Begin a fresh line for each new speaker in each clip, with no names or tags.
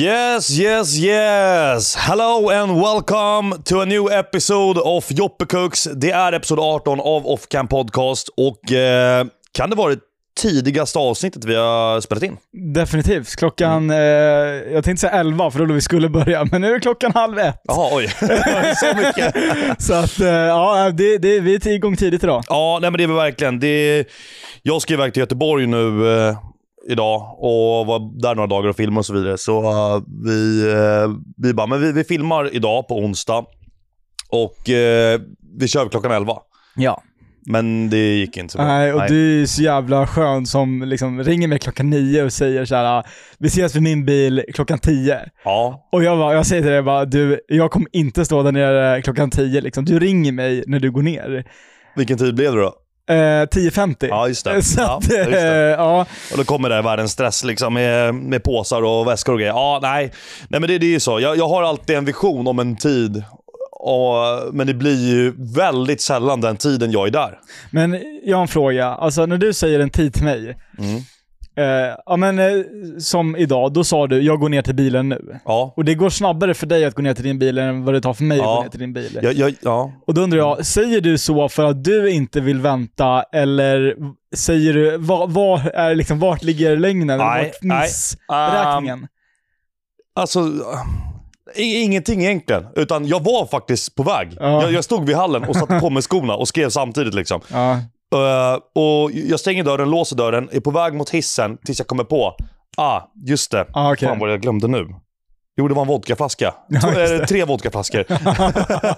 Yes, yes, yes! Hello and welcome to a new episode of Joppekuks. Det är episod 18 av Offcam Podcast och eh, kan det vara det tidigaste avsnittet vi har spelat in?
Definitivt.
Mm.
Klockan, eh, jag tänkte säga 11 för då vi skulle börja, men nu är klockan halv ett.
Jaha, oj. Så mycket.
Så att, eh, ja, det, det, vi är igång tidigt idag.
Ja, nej men det är väl verkligen. Det, jag ska iväg till Göteborg nu eh, idag och var där några dagar och filmade och så vidare. Så eh, vi, eh, vi bara, men vi, vi filmar idag på onsdag och eh, vi kör klockan 11.
Ja.
Men det gick inte så bra.
Nej, och det är ju så jävla skönt som liksom ringer mig klockan nio och säger så här: "Ah, vi ses vid min bil klockan tio.
Ja,
Och jag, bara, jag säger till dig bara, du, jag kommer inte stå där nere klockan tio liksom. Du ringer mig när du går ner.
vilken tid blev det då?
Eh, 10.50.
Ja, just det.
Så
Ja,
att,
just
eh,
det.
ja.
Och då kommer det här världens stress liksom med, med påsar och väskor och grejer. Ja, nej. Nej, men det, det är ju så. Jag, jag har alltid en vision om en tid. Och, men det blir ju väldigt sällan den tiden jag är där.
Men jag har en fråga. Alltså när du säger en tid till mig.
Mm.
Eh, ja men eh, som idag, då sa du jag går ner till bilen nu.
Ja.
Och det går snabbare för dig att gå ner till din bil än vad det tar för mig
Ja.
att gå ner till din bil.
Jag, jag, ja. Mm.
Och då undrar jag, säger du så för att du inte vill vänta eller säger du, var, var är liksom, vart ligger
Nej,
lögnen? vart
nej.
missräkningen?
Um, Alltså, i- ingenting egentligen. Utan jag var faktiskt på väg.
Ja.
Jag, jag stod vid hallen och satte på mig skorna och skrev samtidigt. liksom.
Ja.
Eh, och jag stänger dörren, låser dörren, är på väg mot hissen tills jag kommer på. Ah, just det.
Ah, okej.
Fan vad jag glömde nu. Jo, det var en vodkaflaska. Två,
just
eller tre vodkaflaskor.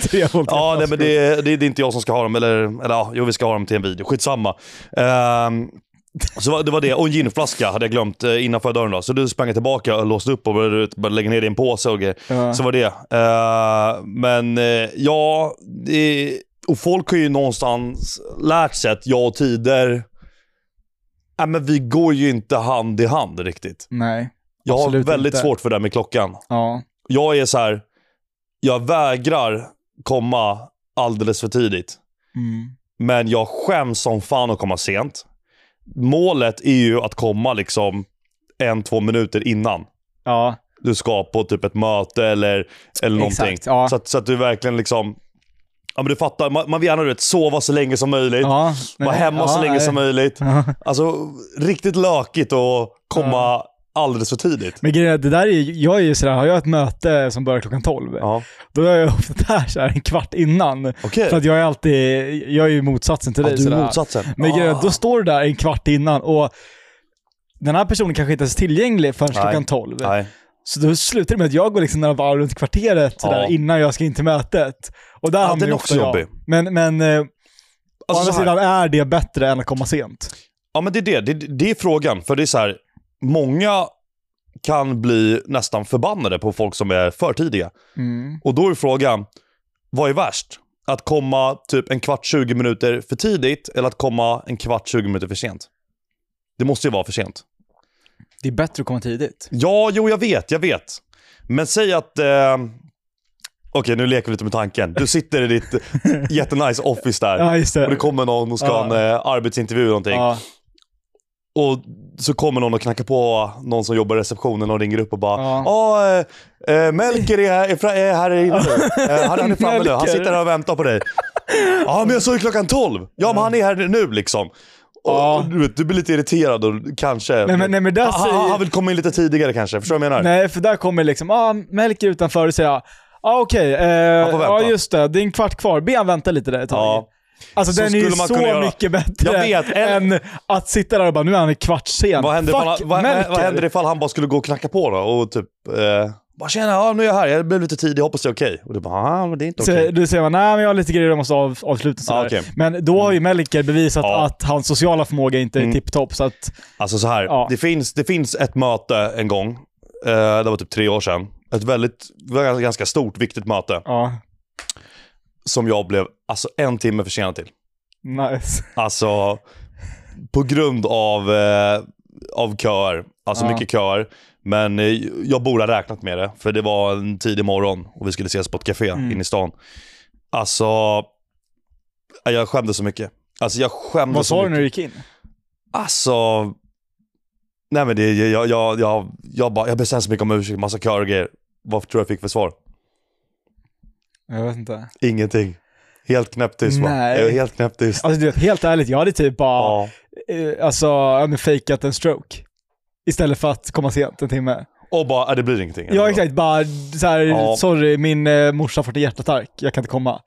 Tre volt.
ja, nej, men det, det, det är inte jag som ska ha dem. Eller, eller ja, jo, vi ska ha dem till en video. Skitsamma. Ehm, så var- det var det. Och en ginflaska hade jag glömt eh, innanför dörren. Då. Så du sprang jag tillbaka och låste upp och började, ut- började lägga ner det i en påse och grejer.
Ja.
Så var det. Eh, men eh, ja, det, och folk har ju någonstans lärt sig att jag och tider, nej, men vi går ju inte hand i hand riktigt.
Nej.
Jag har
Absolut
väldigt
inte.
svårt för det här med klockan.
Ja.
Jag är så här, jag vägrar komma alldeles för tidigt.
Mm.
Men jag skäms som fan att komma sent. Målet är ju att komma liksom en, två minuter innan
Ja.
du ska på typ ett möte eller, eller någonting.
Exakt, ja.
så, att, så att du verkligen liksom... Ja, men du fattar, man, man vill gärna du vet, sova så länge som möjligt.
ja.
Vara
Nej,
hemma
ja,
så länge
nej.
som möjligt.
Ja.
Alltså, riktigt lökigt att komma alldeles för tidigt.
Men grejen är, att det där är ju, jag är ju sådär, har jag ett möte som börjar klockan 12,
Ja.
då är jag ofta där såhär en kvart innan.
Okej.
För att jag är alltid, jag är ju motsatsen till
Ja,
dig.
du
sådär.
är motsatsen.
Men grejen är, att då står du där en kvart innan och den här personen kanske inte ens är tillgänglig förrän
Nej.
klockan 12.
Nej.
Så då slutar det med att jag går liksom några varv runt kvarteret sådär,
Ja.
innan jag ska in till mötet. Och där
Ja,
hamnar
den är
ju
också
ofta jag.
jobbig.
Men, men eh, å
Alltså,
andra
så här.
sidan är det bättre än att komma sent.
Ja, men det är det. det. Det är frågan. För det är så här, många kan bli nästan förbannade på folk som är för tidiga.
Mm.
Och då är frågan, vad är värst? Att komma typ en kvart, 20 minuter för tidigt eller att komma en kvart, 20 minuter för sent? Det måste ju vara för sent.
Det är bättre att komma tidigt.
Ja, jo, jag vet, jag vet. Men säg att... Eh... Okej, nu leker vi lite med tanken. Du sitter i ditt jättenice office där.
Ja, just
Och det
det.
kommer någon och ska ha en eh, arbetsintervju eller någonting.
Ja,
Och så kommer någon och knackar på någon som jobbar i receptionen och ringer upp och bara
Ja.
Ja, eh, eh, Melker är här, är fra, är här inne nu. Eh, han, han är framme nu. Han
Melker.
sitter här och väntar på dig. Ja, men jag såg ju klockan 12. Ja, men han är här nu liksom. Och,
Ja.
och du, vet, du blir lite irriterad och kanske...
Nej, men- nej, men där
Ah, ah, ah,
säger-
Han vill komma in lite tidigare kanske. Förstår du vad jag menar?
Nej, för där kommer liksom, ah, Melker utanför och säger, ja ah, okej, eh,
får vänta.
ja just det, det är en kvart kvar, be han vänta lite där ett tag.
Ja.
Alltså
Så
den är ju
skulle man
så
kunna göra.
mycket bättre
Jag vet, eller-
än att sitta där och bara, nu är han en kvart sen.
Vad händer,
Fuck
ifall, han- vad, vad,
Melker.
vad händer ifall han bara skulle gå och knacka på då? Och typ... Eh, bara tjena, ja, nu är jag här. Jag blev lite tidig, hoppas det är okej. Och du bara, ah, men det är inte
Så
okej.
Då säger man, nej men jag har lite grejer jag måste av, avsluta.
Ja,
sådär.
okej. Mm.
Men då har ju Melker bevisat
Ja. Mm.
att hans sociala förmåga inte är tipptopp. Så att,
Alltså så här,
Ja.
det, finns, det finns ett möte en gång, eh, det var typ tre år sedan. Ett väldigt, ganska stort, viktigt möte
ja,
som jag blev alltså en timme försenad till.
nice.
Alltså på grund av, eh, av köer. Alltså
Ja.
mycket köer. Men eh, jag borde ha räknat med det, för det var en tidig morgon och vi skulle ses på ett café
Mm.
inne i stan. Alltså, eh, jag skämdes så mycket. Alltså jag skämdes
Vad
så
sa
mycket.
du när du gick in?
Alltså, Nej men det, jag, jag, jag, jag, bara, jag ber så hemskt mycket om ursäkt, massa köer och grejer. Vad tror du jag fick för svar?
Jag vet inte.
Ingenting. Helt knäpptyst va?
Nej.
Jag var helt knäpptyst.
Alltså du vet, helt ärligt, jag hade typ bara
Ja.
eh, alltså, ja, men fejkat en stroke. Istället för att komma sent en timme.
Och bara, äh, det blir ingenting.
Ja exakt, bara så här,
Ja.
sorry min eh, morsa har fått en hjärtattack, jag kan inte komma.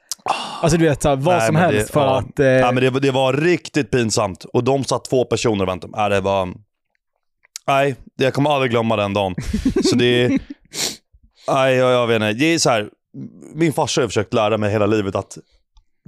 Alltså du vet, så här, vad
Ah. Nej,
som
men det-
helst för
ja.
att... eh,
Nej, men det, det var riktigt pinsamt. Och de satt två personer och väntade. Nej, det var... Nej, det- jag kommer aldrig glömma den dagen. Så det... Nej, jag, jag vet inte. Det är så här. Min farsa har försökt lära mig hela livet att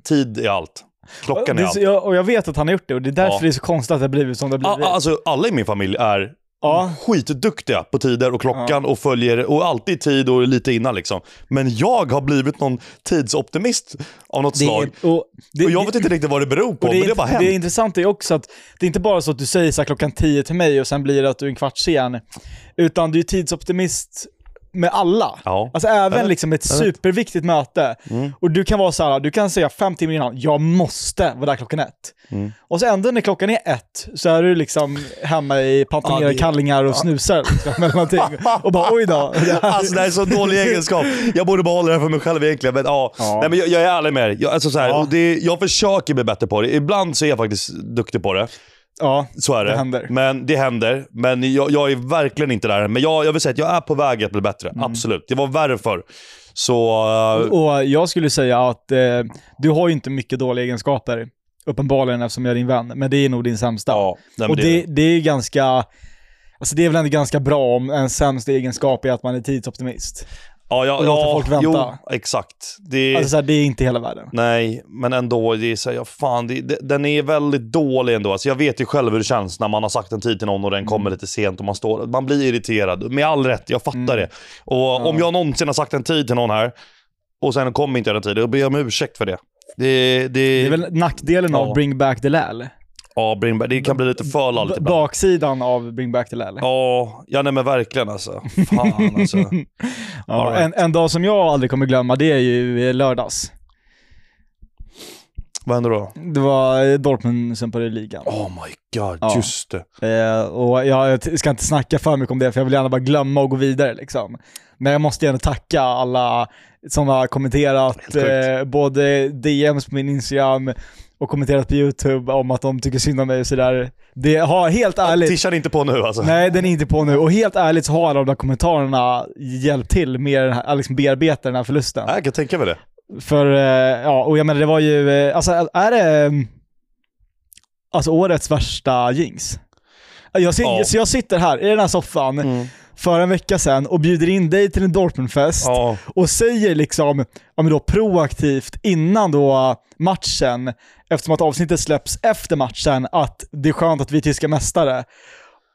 tid är allt. Klockan
det
är
är så-
allt.
jag, och jag vet att han har gjort det och det är därför
Ja.
det är så konstigt att det har blivit som det har
A-
blivit.
a- Alltså, alla i min familj är
ja.
skitduktiga på tider och klockan och följer och alltid i tid och lite innan liksom. Men jag har blivit någon tidsoptimist av något slag.
och det-
och jag vet inte riktigt vad det beror på, men
och det,
det har bara
är,
hänt.
det är intressant är också att det är inte bara så att du säger så här, klockan 10 till mig och sen blir det att du är en kvart sen. Utan du är tidsoptimist med alla.
Ja. Mm.
Alltså även
vet,
liksom ett superviktigt möte. Och du kan vara så här, du kan säga fem timmar innan, jag måste vara där klockan ett.
Mm.
Och så ändå när klockan är ett så är du liksom hemma i
Ja,
pantalonerade
det-
kallingar och snusar liksom, eller någonting. Och bara oj då.
Alltså det här är så dålig egenskap. Jag borde behålla det här för mig själv egentligen. Men, ja.
Ja.
Nej, men jag, jag är ärlig med dig. Jag, alltså, så här,
Ja.
och det, jag försöker bli bättre på det. Ibland så är jag faktiskt duktig på det.
Ja,
Så är det.
Det händer.
Men det händer. Men jag, jag är verkligen inte där än. Men jag, jag vill säga att jag är på väg att bli bättre.
Mm.
Absolut. Det var värre förr. Så... eh,
och jag skulle säga att eh, du har ju inte mycket dåliga egenskaper, uppenbarligen eftersom jag är din vän, men det är nog din sämsta.
ja. Nej, men
och det, det är ju ganska, alltså det är väl ändå ganska bra om ens sämsta egenskap är att man är tidsoptimist.
ja, ja,
och låta folk vänta.
Jo, exakt. Det,
Alltså så här, det är inte hela världen.
Nej, men ändå. Det är så här, ja, fan, det, det, den är väldigt dålig ändå. Alltså, jag vet ju själv hur det känns när man har sagt en tid till någon och den
Mm.
kommer lite sent och man står Man blir irriterad. Med all rätt, jag fattar
Mm.
det. Och om jag någonsin har sagt en tid till någon här och sen kommer inte jag den tiden, då ber jag om ursäkt för det. Det, det,
Det är väl nackdelen av
Ja.
Bring Back the Lal.
ja, bring back- det kan bli lite för lalligt
B-
ibland.
Baksidan av Bring Back the Lal.
Ja, ja, nej men verkligen alltså. Fan alltså.
Ja,
alright.
en, en dag som jag aldrig kommer glömma, det är ju eh, lördags.
Vad händer då?
Det var eh, Dortmund som började ligan.
Oh my god,
Ja.
just det.
Eh, och jag, jag t- ska inte snacka för mycket om det, för jag vill gärna bara glömma och gå vidare. Liksom. Men jag måste gärna tacka alla som har kommenterat
sjukt.
eh, både DMs på min Instagram och kommenterat på YouTube om att de tycker synd om mig och sådär. Det har helt ärligt...
Tishar inte på nu alltså.
Nej, den är inte på nu. Och helt ärligt så har alla de där kommentarerna hjälpt till med den här, att liksom bearbeta den här förlusten.
Nej, Jag kan tänka mig det.
För, eh, ja, och jag menar det var ju, eh, alltså är det eh, alltså årets värsta jinx? Äh, Jag, sit,
Ja. Mm.
Så jag sitter här i den här soffan för en vecka sedan och bjuder in dig till en Dortmundfest
Ja.
och säger liksom, ja men då proaktivt innan då matchen, eftersom att avsnittet släpps efter matchen, att det är skönt att vi är tyska mästare.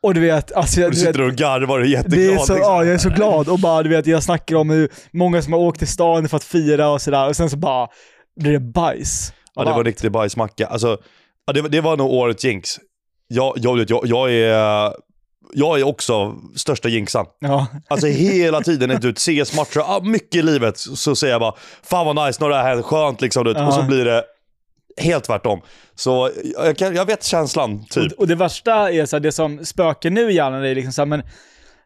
Och du vet, alltså, jag-
Du
du vet,
sitter och garvar och är jätteglad.
det är så,
liksom.
ja, jag är så glad och bara, du vet, jag snackar om hur många som har åkt till stan för att fira och sådär och sen så bara blir det bajs.
Ja, det var
Bara,
riktig bajsmacka. Alltså, ja, det, det var nog årets jinx. Jag, jag, vet, jag, jag, är, jag är också största jinxan.
Ja,
Alltså hela tiden när du vet, CS-matcher, ah, mycket i livet, så, så säger jag bara “Fan vad nice, nu har det här hänt, skönt” liksom, du vet. och så
Ja.
blir det helt tvärtom. Så jag, kan, jag vet känslan, typ.
och, och det värsta är så här, det som spökar nu i hjärnan är liksom så här, men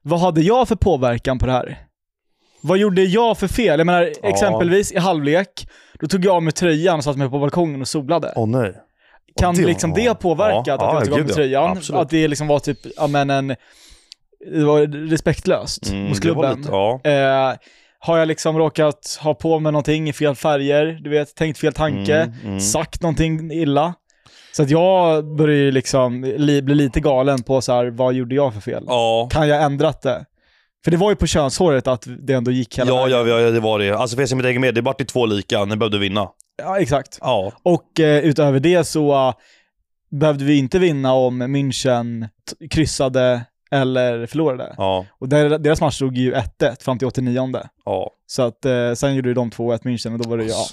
vad hade jag för påverkan på det här? Vad gjorde jag för fel? Jag menar,
Ja.
exempelvis i halvlek, då tog jag av mig tröjan och satt mig på balkongen och solade.
Åh nej.
kan
det-
liksom
ja.
det påverka
Ja,
att jag
ja,
tog
gud,
av mig
ja.
tröjan?
Absolut.
Att det liksom var typ, ja men en, det var respektlöst
Mm,
mot
det var
klubben.
lite- ja.
Eh, har jag liksom råkat ha på mig någonting i fel färger, du vet, tänkt fel tanke,
Mm, mm.
sagt någonting illa. Så att jag börjar ju liksom li, bli lite galen på så här, vad gjorde jag för fel?
Ja.
Kan jag ändrat det? För det var ju på könshåret att det ändå gick hela
Ja,
vägen.
ja, ja, det var det. Alltså för jag ser mitt eget med, det vart ju två lika, ni behövde vinna.
Ja, exakt.
Ja.
Och eh, utöver det så eh, behövde vi inte vinna om München t- kryssade eller förlorade.
Ja.
Och der, deras match stod ju 1-1 fram till 89.
ja.
Så att eh, sen gjorde ju de 2-1 München och då var det ja.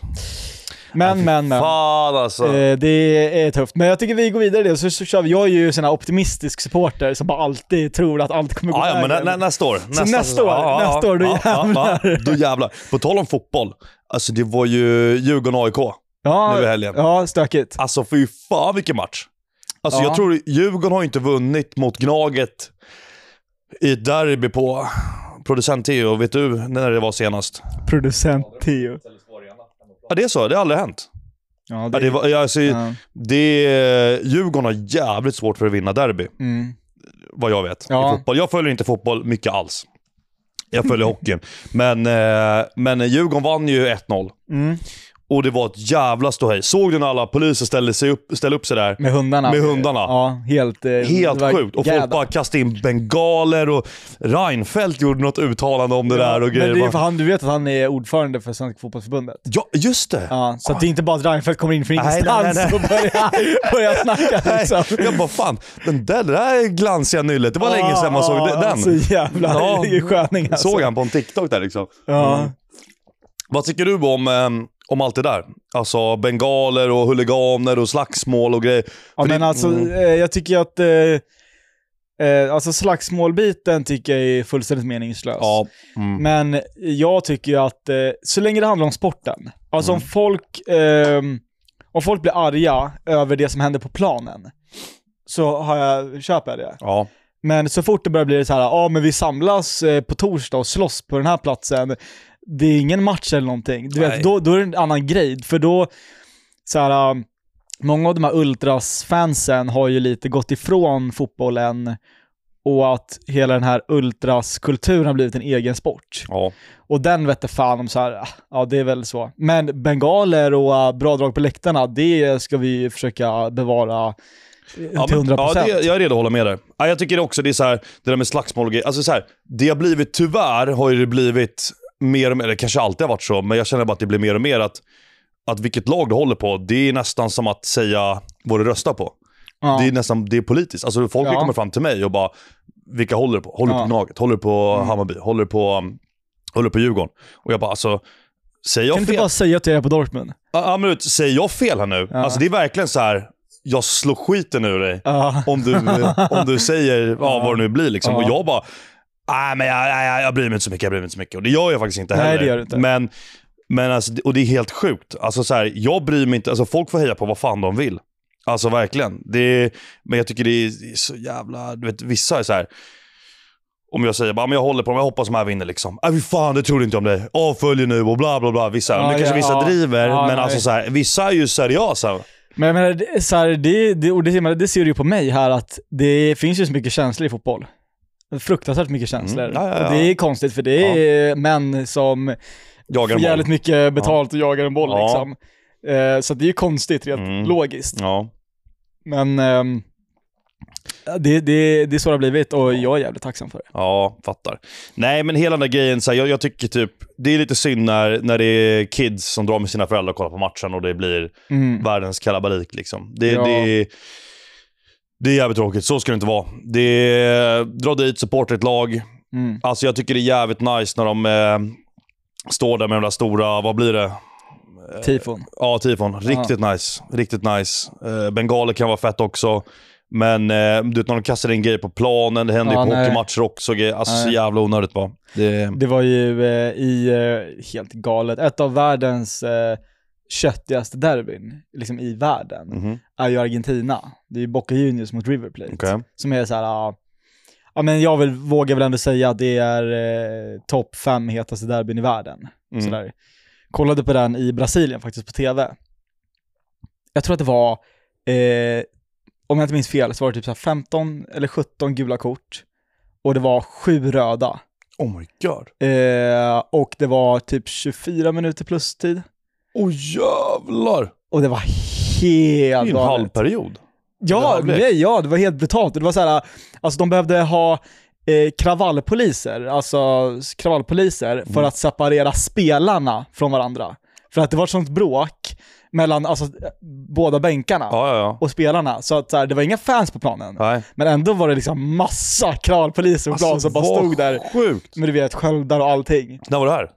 Men, men, men.
Alltså. Fan alltså.
Eh, det är tufft. Men jag tycker vi går vidare i det, så, så kör vi. Jag är ju sån här optimistisk supporter som bara alltid tror att allt kommer gå
Ja, ja, men nä,
vägen.
nä, nästa år.
nästa år,
Ja, ja,
nästa år, då jävlar.
då jävlar. På tal om fotboll, alltså det var ju Djurgården-AIK
ja,
nu i helgen.
Ja, stökigt.
Alltså fy fan vilken match. Alltså
Ja.
jag tror Djurgården har inte vunnit mot Gnaget i ett derby på producent Theo. Vet du när det var senast?
Producent Theo.
Ja, det är så. Det har aldrig hänt.
Ja,
Ja, det var, alltså,
ja.
det, Djurgården har jävligt svårt för att vinna derby,
Mm.
vad jag vet.
Ja.
I fotboll. Jag följer inte fotboll mycket alls. Jag följer hockeyn. Men, eh, men Djurgården vann ju 1-0.
Mm.
Och det var ett jävla ståhej. Såg du när alla poliser ställde, sig upp, ställde upp sig där?
Med hundarna.
Med hundarna.
Ja, helt... eh,
Helt
det var
sjukt. Och folk
jävla-
bara kastade in bengaler och Reinfeldt gjorde något uttalande om det där och grejer.
Men det är för
Bara-
han, du vet att han är ordförande för Svenska Fotbollförbundet?
Ja, just det.
Ja, så att det är inte bara att Reinfeldt kommer in från
Nej, nej,
ingenstans
nej, nej.
och börjar, börjar snacka
Nej,
liksom.
Jag bara fan, den där, det där glansiga nyllet, det var länge sedan man såg
Ja,
den.
Ah, Så jävla
Ja.
sköning alltså.
Såg han på en TikTok där liksom.
Ja.
Vad tycker du om, ehm, om allt det där? Alltså bengaler och huliganer och slagsmål och grejer.
Ja,
För
men
det-
alltså,
mm.
eh, jag tycker ju att eh, eh, alltså slagsmålbiten tycker jag är fullständigt meningslös.
Ja. Mm.
Men jag tycker ju att eh, så länge det handlar om sporten, alltså
Mm.
om, folk, ehm, om folk blir arga över det som händer på planen, så har jag, köper jag det.
Ja.
Men så fort det börjar bli så här, ja men vi samlas eh, på torsdag och slåss på den här platsen, det är ingen match eller någonting. Du
Nej.
vet, då, då är det en annan grej, för då, så här, eh, många av de här Ultras-fansen har ju lite gått ifrån fotbollen och att hela den här Ultras-kulturen har blivit en egen sport.
ja.
Och den vette fan om så här, ah, ja det är väl så. Men bengaler och eh, bra drag på läktarna, det ska vi försöka bevara eh,
Ja,
till
men-
100%.
Ja, det, jag är redo att hålla med dig. Ja, jag tycker också det är så här, det där med slagsmål och grejer. Alltså så här, det har blivit, tyvärr har ju det blivit mer och mer, eller kanske alltid har varit så, men jag känner bara att det blir mer och mer att, att vilket lag du håller på, det är nästan som att säga vad du röstar på.
Ja.
Det är nästan, det är politiskt. Alltså folk
Ja.
kommer fram till mig och bara, vilka håller du på? Håller du
Ja. Mm.
på Gnaget? Håller du på Hammarby? Håller du på, um, håller du på Djurgården? Och jag bara, alltså, säger jag
Kan du
fel?
inte bara säga att jag är på Dortmund?
Ja, ja, men du vet, säger jag fel här nu?
Ja.
Alltså det är verkligen så här, jag slår skiten ur dig
Ja.
om du, om du säger ja, vad det nu blir. Liksom.
Ja.
Och jag bara, nej men jag, nej, jag, jag bryr mig inte så mycket, jag bryr mig inte så mycket. Och det gör jag faktiskt inte
Nej,
heller.
det gör du inte.
Men, men alltså, det- och det är helt sjukt. Alltså, så här, jag bryr mig inte, alltså, folk får heja på vad fan de vill. Alltså verkligen. Det är, men jag tycker det är, det är så jävla, du vet vissa är så här. Om jag säger bara, men jag håller på dem, jag hoppas de här vinner liksom. Äh, fy fan, det trodde inte om dig. Avföljer nu och bla bla bla. Vissa,
Ja,
nu kanske
ja,
vissa
ja.
driver,
Ja,
men
nej.
alltså så här, vissa är ju seriösa.
Men jag menar, det, är så här, det, det, och det, ser man- det ser du ju på mig här att det finns ju så mycket känslor i fotboll. Fruktansvärt mycket känslor.
Mm. Ja, ja, ja.
Och det är konstigt för det är män som
Jagar
får
en boll.
jävligt mycket betalt och jagar en boll
Ja.
liksom. Eh, så att det är ju konstigt rent
Mm.
logiskt.
Ja.
Men ehm, det, det, det är så det har blivit och jag är jävligt tacksam för det.
Ja, fattar. Nej, men hela den där grejen, så här, jag, jag tycker typ, det är lite synd när, när det är kids som drar med sina föräldrar och kollar på matchen och det blir
Mm.
världens kalabalik. Liksom. Det,
Ja.
det, det är jävligt tråkigt, så ska det inte vara. Det, dra dit, supporta ett lag.
Mm.
Alltså jag tycker det är jävligt nice när de eh, står där med de där stora, vad blir det? Eh,
Tifon.
Ja, tifon. Riktigt nice. Riktigt nice. Eh, bengaler kan vara fett också. Men eh, du vet, när de kastar in grejer på planen, det händer
Ja,
ju på
nej.
hockeymatcher också. grejer. Alltså så
Nej.
jävla onödigt bara. Det...
Det var ju eh, i, eh, helt galet, ett av världens eh, köttigaste derbyn liksom i världen
Mhm.
är ju Argentina. Det är ju Boca Juniors mot River Plate.
Okej.
Som är så här, ja, ja men jag vill, vågar väl ändå säga att det är eh, topp fem hetaste derbyn i världen.
Mm.
Sådär. Kollade på den i Brasilien faktiskt på tv. Jag tror att det var, eh, om jag inte minns fel, så var det typ så här 15 eller 17 gula kort och det var sju röda.
Oh my god.
Eh, och det var typ 24 minuter plus tid.
Oh jävlar!
Och det var
Det är ju
helt
en halv
galet.
period.
Ja,
halvlek.
nej, ja, det var helt brutalt. Och Det var så här, alltså de behövde ha eh, kravallpoliser, alltså s- kravallpoliser,
Mm.
för att separera spelarna från varandra. För att det var ett sånt bråk mellan alltså, eh, båda bänkarna
Ja, ja, ja.
och spelarna. Så att så här, det var inga fans på planen,
Nej.
men ändå var det liksom massa kravallpoliser på planen som bara
Alltså, vad
stod där
sjukt!
med du vet, sköldar och allting.
När var det här?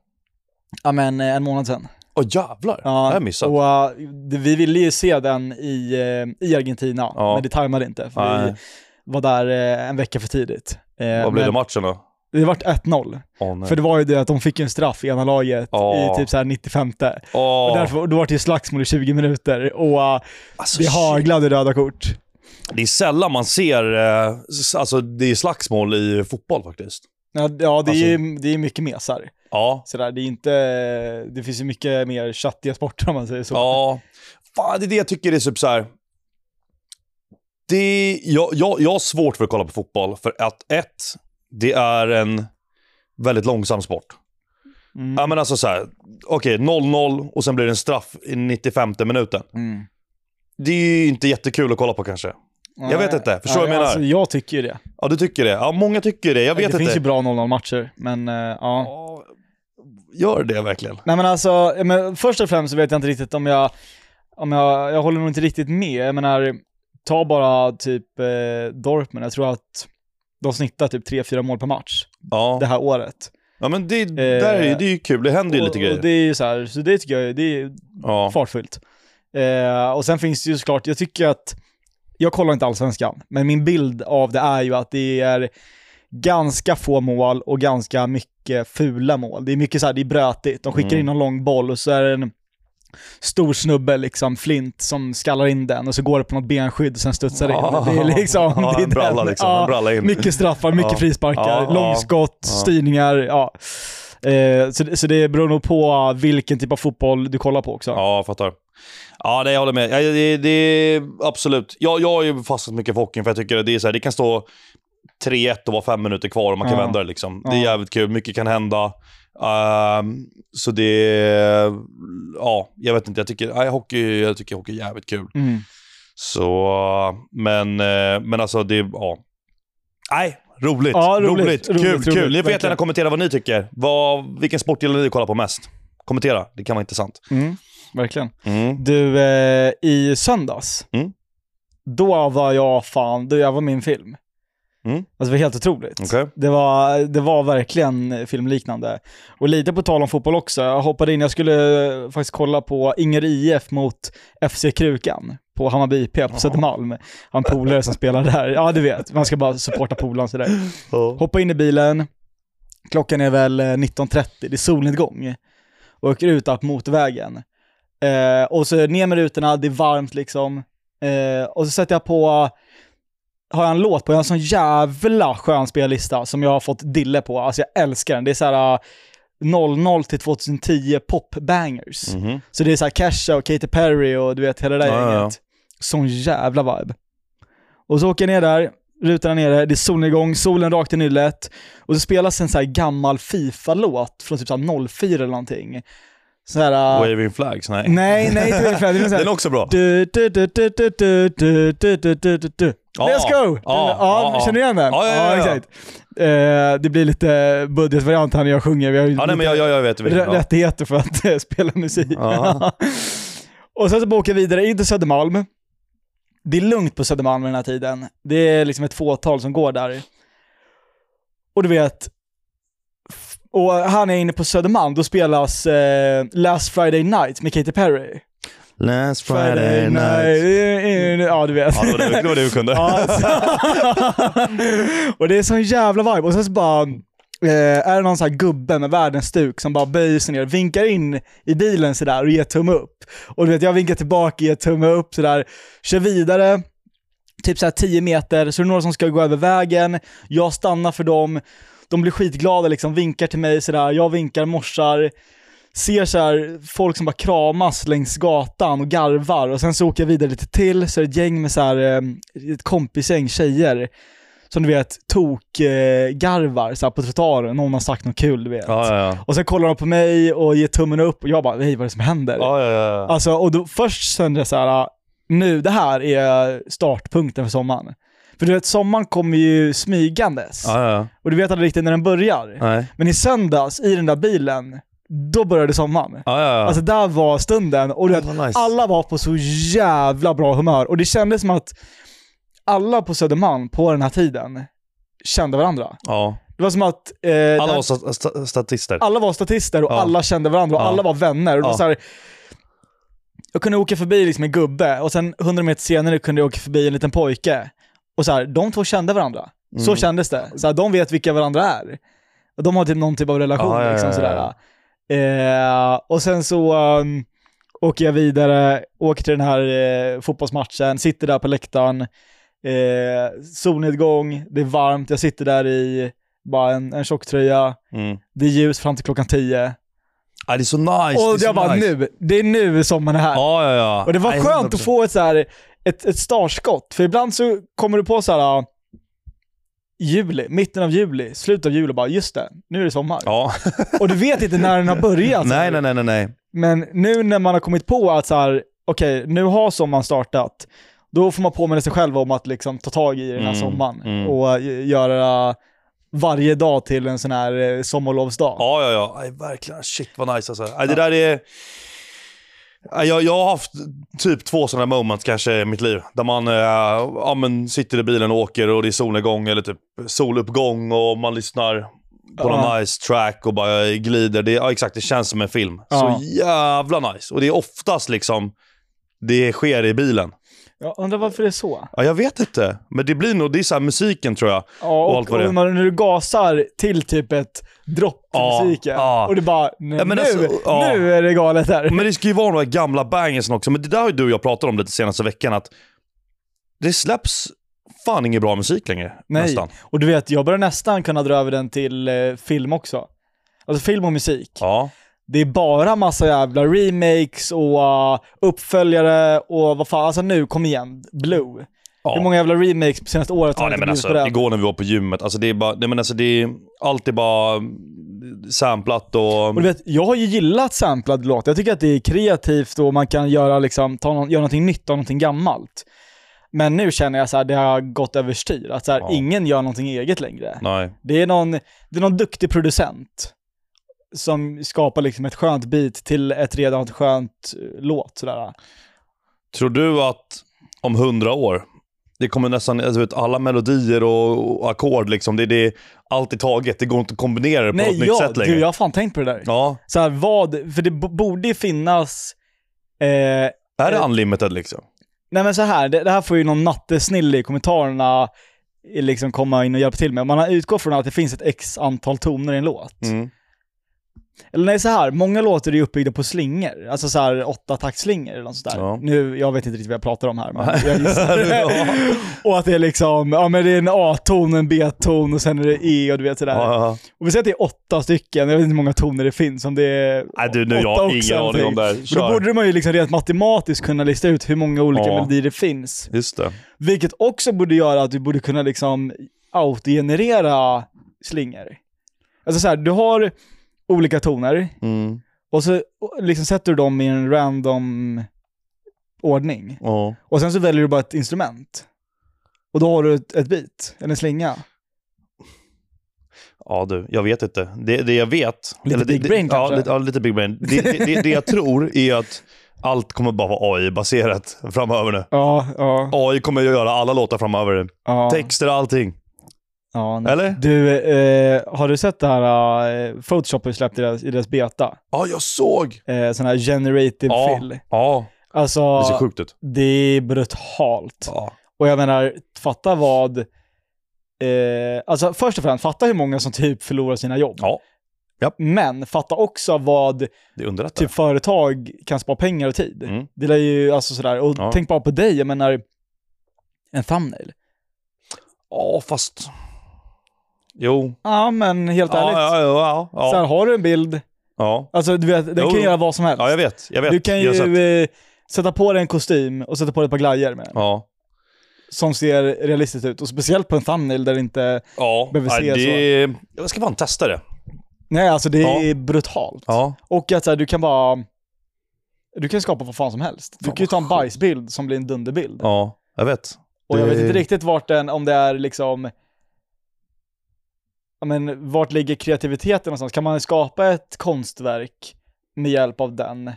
Ja men eh, en månad sedan.
Åh jävlar! Det har jag missat.
och, uh, det- vi ville ju se den i, eh, i Argentina,
Ja.
men det tajmade inte. För
Nej.
vi var där eh, en vecka för tidigt. Eh,
Vad blev det
men
matchen då?
det vart 1-0.
Åh nej.
För det var ju det att de fick ju en straff i ena laget
Ja.
i typ så här 95.
Åh.
Och därför, då var det ju slagsmål i 20 minuter och uh,
Alltså,
det
shit.
haglade röda kort.
Det är sällan man ser eh, s- alltså, det är slagsmål i fotboll faktiskt.
Ja, d- ja det,
Alltså.
är ju, det är mycket mesar.
Ja.
Sådär, det, är inte, det finns ju mycket mer chattiga sporter om man säger så.
ja. Fan, det är det jag tycker är typ så här. Det, jag, jag, jag har svårt för att kolla på fotboll, för att ett, det är en väldigt långsam sport.
Mm.
Ja men alltså så här, okej 0-0 och sen blir det en straff i 95 minuten.
Mm.
Det är ju inte jättekul att kolla på kanske. Jag vet inte, förstår vad jag menar?
Alltså, jag tycker ju det.
Ja du tycker det? Ja många tycker det, jag vet
det
inte.
finns ju bra 0-0-matcher, men eh, ja.
Ja, Gör det verkligen?
Nej men alltså, ja, men först och främst så vet jag inte riktigt om jag, om jag, jag håller nog inte riktigt med. Jag menar, ta bara typ eh, Dortmund, jag tror att de snittar typ 3-4 mål per match det
Ja,
här året.
ja men det, där är, ju- det är ju kul, det händer ju
och,
lite grejer.
Eh, Och det är ju så här, så det tycker jag är- det är
ja.
fartfyllt. Eh, och sen finns det ju såklart, jag tycker att, jag kollar inte allsvenskan, men min bild av det är ju att det är ganska få mål och ganska mycket fula mål. Det är mycket så här, det är brötigt. De skickar
Mm.
in någon lång boll och så är det en stor snubbe, liksom flint, som skallar in den och så går det på något benskydd och sen studsar det in. Det är liksom,
ja,
det är
en bralla
den.
liksom,
Ja,
en bralla in.
mycket straffar, mycket
Ja.
frisparkar,
Ja, ja.
långskott,
Ja.
styrningar. Ja. Eh, så, det- så det beror nog på vilken typ av fotboll du kollar på också.
Ja, jag fattar. Ja, nej, jag håller med. Ja, det, det, absolut. Jag, jag har ju fastnat mycket för hockeyn för jag tycker att det är så här, det kan stå 3-1 och vara fem minuter kvar och man kan
Ja.
vända det liksom. Det är
Ja.
jävligt kul, mycket kan hända. Ehm, så det... Ja, jag vet inte. Jag tycker, nej, hockey, jag tycker hockey är jävligt kul.
Mm.
Så, men, eh, men alltså det, ja. Nej, roligt.
Ja, roligt,
kul,
roligt, roligt,
kul. Ni får
verkligen.
jättegärna kommentera vad ni tycker. Vad, vilken sport gillar ni att kolla på mest? Kommentera, det kan vara intressant.
Mm, verkligen.
Mm.
Du, eh, i söndags,
Mm.
då var jag fan, då jag var min film.
Mm.
Alltså det var helt otroligt.
Okej.
Det, var, det var verkligen filmliknande. Och lite på tal om fotboll också, jag hoppade in, jag skulle eh, faktiskt kolla på Inger IF mot FC Krukan på Hammarby IP på Södermalm. Jag har en polare som spelar där. Ja, du vet, man ska bara supporta polaren sådär. Hoppa in i bilen. Klockan är väl eh, 19.30, det är solnedgång. Och åker ut upp motorvägen. Eh, och så ner med rutorna, det är varmt liksom. Eh, och så sätter jag på, har jag en låt på, jag har en sån jävla skön spellista som jag har fått dille på. Alltså jag älskar den. Det är så här eh, 00 till 2010 popbangers.
Mhm.
Så det är så här Kesha och Katy Perry och du vet hela det där
Ja, ja, ja.
gänget. Sån jävla vibe. Och så åker jag ner där, rutan är nere, det är solnedgång, solen rakt i nyllet. Och så spelas en så här gammal Fifa-låt från typ så här 04 eller någonting. Så här... äh,
Waving flags? Nej.
Nej, nej, inte Waving Flags. Det är så
Den
här-
är också bra.
du, du, du, du, du, du, du, du, du, du, du, du.
Ja.
Let's go!
Ja,
ja,
ja,
känner du igen den?
ja, ja, ja, ja.
exakt. Eh, det blir lite budgetvariant här när jag sjunger. Vi har ju
Ja, nej, men
lite-
jag, jag, jag vet vilken.
Rä-
Ja.
rättigheter för att eh, spela musik.
Ja.
och sen så bara åker jag vidare in till Södermalm. Det är lugnt på Södermalm den här tiden. Det är liksom ett fåtal som går där. Och du vet, f- och här när jag är inne på Södermalm, då spelas eh, Last Friday Night med Katy Perry.
Last
night. Ja, du vet.
Ja, det var det, det, var det vi kunde.
Ja, alltså. och det är sån jävla vibe. Och sen så bara, eh, är det någon sån här gubbe med världens stuk som bara böjer sig ner, vinkar in i bilen sådär och ger tumme upp. Och du vet, jag vinkar tillbaka, ger tumme upp sådär, kör vidare. Typ såhär 10 meter, så är det några som ska gå över vägen, jag stannar för dem, de blir skitglada liksom, vinkar till mig sådär, jag vinkar, morsar, ser så här folk som bara kramas längs gatan och garvar och sen så åker jag vidare lite till så är det ett gäng med så här, eh, ett kompisgäng tjejer som du vet tok eh, garvar så här, på trottoaren, någon har sagt något kul du vet.
Ja, ja,
Och sen kollar de på mig och ger tummen upp och jag bara hej vad är det som händer?
ja. ja, ja, ja.
Alltså och då, först kände jag så här, "Ah, nu det här är startpunkten för sommaren. För du vet sommaren kommer ju smygandes
ja, ja.
och du vet aldrig riktigt när den börjar.
Nej.
Men i söndags, i den där bilen, då började sommaren.
Ja, ja, ja.
Alltså där var stunden och du vet,
Det var nice.
alla var på så jävla bra humör och det kändes som att alla på Södermalm på den här tiden kände varandra.
ja. Mm.
Det var som att eh, det
Alla
här-
var sta- sta- statister.
alla var statister och
Ja.
alla kände varandra och
Ja.
alla var vänner. Och det var
Ja.
så här, jag kunde åka förbi liksom en gubbe och sen 100 meter senare kunde jag åka förbi en liten pojke. Och så här, de två kände varandra. Så
Mm.
kändes det. Så här, de vet vilka varandra är. Och De har typ någon typ av relation.
Ja, ja,
liksom,
ja,
sådär. Eh, och sen så um, åker jag vidare, åker till den här eh, fotbollsmatchen, sitter där på läktaren. eh, solnedgång, det är varmt, jag sitter där i bara en, en tjocktröja,
Mm.
det är ljus fram till klockan 10.
Ah, det är så nice.
och
det är
jag
så
bara
nice.
nu, det är nu sommaren är här.
Ja, ja, ja.
Och det var
Nej,
skönt att
100%.
få ett, så här, ett, ett startskott, för ibland så kommer du på så här ah, juli, mitten av juli, slutet av juli och bara just det, nu är det sommar.
Ja.
Och du vet inte när den har börjat.
nej, nej, nej, nej, nej.
Men nu när man har kommit på att så här, okej, nu har sommaren startat, då får man påminna sig själv om att liksom ta tag i den här
Mm,
sommaren
mm.
och eh, göra varje dag till en sån här eh, sommarlovsdag.
Ja, ja, ja. Nej, verkligen. Shit vad nice alltså. Nej, det där är... Nej, Jag, jag har haft typ två sådana moments kanske i mitt liv. Där man eh, ja, men sitter i bilen och åker och det är solnedgång eller typ soluppgång och man lyssnar på
Ja.
någon nice track och bara glider. Det, ja, exakt, det känns som en film.
Ja.
Så jävla nice. Och det är oftast liksom det sker i bilen.
Jag undrar varför det är så.
Ja, jag vet inte. Men det blir nog, det är så här musiken tror jag.
Ja,
Och
och,
allt
och,
vad det är.
när när du gasar till typ ett dropp till
Ja,
musiken
ja.
och du bara, nej,
Ja, men
nu,
alltså, ja.
nu är det galet här.
Men det ska ju vara de här gamla bangersen också. Men det där har ju du och jag pratat om lite senaste veckan. Att det släpps fan ingen bra musik längre.
Nej.
Nästan.
Och du vet, jag börjar nästan kunna dra över den till eh, film också. Alltså film och musik.
Ja.
Det är bara massa jävla remakes och uh, uppföljare och vad fan, alltså nu, kom igen, Blue.
ja.
Hur många jävla remakes på senaste året har
Ja,
det
nej, men
inte blivit
alltså,
på det?
igår när vi var på gymmet, alltså det är bara, nej, men alltså det är, allt är bara mm, samplat och...
Och du vet, jag har ju gillat samplad låt. Jag tycker att det är kreativt och man kan göra, liksom, ta någon, göra någonting nytt av någonting gammalt. Men nu känner jag så här, det har gått överstyr. Att så här,
Ja.
ingen gör någonting eget längre.
nej.
Det är, någon, det är någon duktig producent som skapar liksom ett skönt beat till ett redan skönt eh, låt. Sådär.
Tror du att om hundra år, det kommer nästan, alltså, vet, alla melodier och, och ackord liksom, det, det är allt är taget. Det går inte att kombinera det på något
Nej,
nytt
ja,
sätt längre.
du, jag har fan tänkt på det där.
Ja.
Så här, vad, för det b- borde finnas... Eh,
Är det
Eh,
unlimited liksom?
nej men så här, det, det här får ju någon nattesnille i kommentarerna eh, liksom komma in och hjälpa till med. Om Man utgår från att det finns ett x antal toner i en låt.
Mm.
Eller nej, så här, många låtar är ju uppbyggda på slingor. Alltså så här åtta taktslingor eller något sånt där.
Ja.
Nu, jag vet inte riktigt vad jag pratar om här, men jag gissar.
Ja.
och att det är liksom, ja men det är en A-ton, en B-ton och sen är det E och du vet sådär.
Ja, ja, ja.
Och vi säger att det är åtta stycken, jag vet inte hur många toner det finns, om det är
Nej du, nu,
åtta
jag har
också
ingen aning
någonting.
om det här.
Men då
Kör.
borde man ju liksom rent matematiskt kunna lista ut hur många olika
Ja.
melodier det finns.
Just det.
Vilket också borde göra att du borde kunna liksom autogenerera slingor. Alltså så här, du har olika toner
Mm.
och så liksom sätter du dem i en random ordning.
Ja.
Och sen så väljer du bara ett instrument. Och då har du ett, ett beat, eller en slinga.
ja du, jag vet inte. Det, det jag vet...
Lite
det,
big
det,
brain
ja,
kanske?
lite, ja, lite big brain. Det, det, det, det jag tror är att allt kommer bara vara AI-baserat framöver nu.
Ja, ja,
AI kommer att göra alla låtar framöver.
ja. Mm.
Texter och allting.
ja nej.
Eller?
Du, eh, har du sett det här eh, Photoshop har ju släppt i deras, i deras beta?
Ja, jag såg!
Eh, sån här generative
Ja,
fill.
ja.
Alltså,
det ser sjukt ut.
det är brutalt.
Ja.
Och jag menar, fatta vad... Eh, alltså först och främst, fatta hur många som typ förlorar sina jobb.
Ja. Japp.
Men fatta också vad
Det underlättar.
typ företag kan spara pengar och tid.
Mm.
Det är ju alltså sådär, och
Ja.
tänk bara på dig, jag menar, en thumbnail.
Ja, fast... Jo.
Ja men helt
Ja,
ärligt,
ja, ja. Ja,
Så här,
ja.
har du en bild,
ja.
alltså du vet, den
Jo,
kan
jo.
göra vad som helst.
ja jag vet. Jag vet.
Du kan
Jag har sett.
ju eh, sätta på dig en kostym och sätta på dig ett par glajjor med den,
Ja.
som ser realistiskt ut. Och speciellt på en thumbnail där det inte...
Ja.
Behöver se
Nej, det... Jag ska fan testa det.
Nej, alltså det
Ja.
är brutalt.
Ja.
Och att så här, du kan bara... Du kan skapa vad fan som helst. Du
Fan,
kan ju ta en
vad
bajsbild som blir en dunderbild.
Ja, jag vet.
och jag vet
det-
inte riktigt vart den, om det är liksom... Ja men vart ligger kreativiteten någonstans? Kan man skapa ett konstverk med hjälp av den?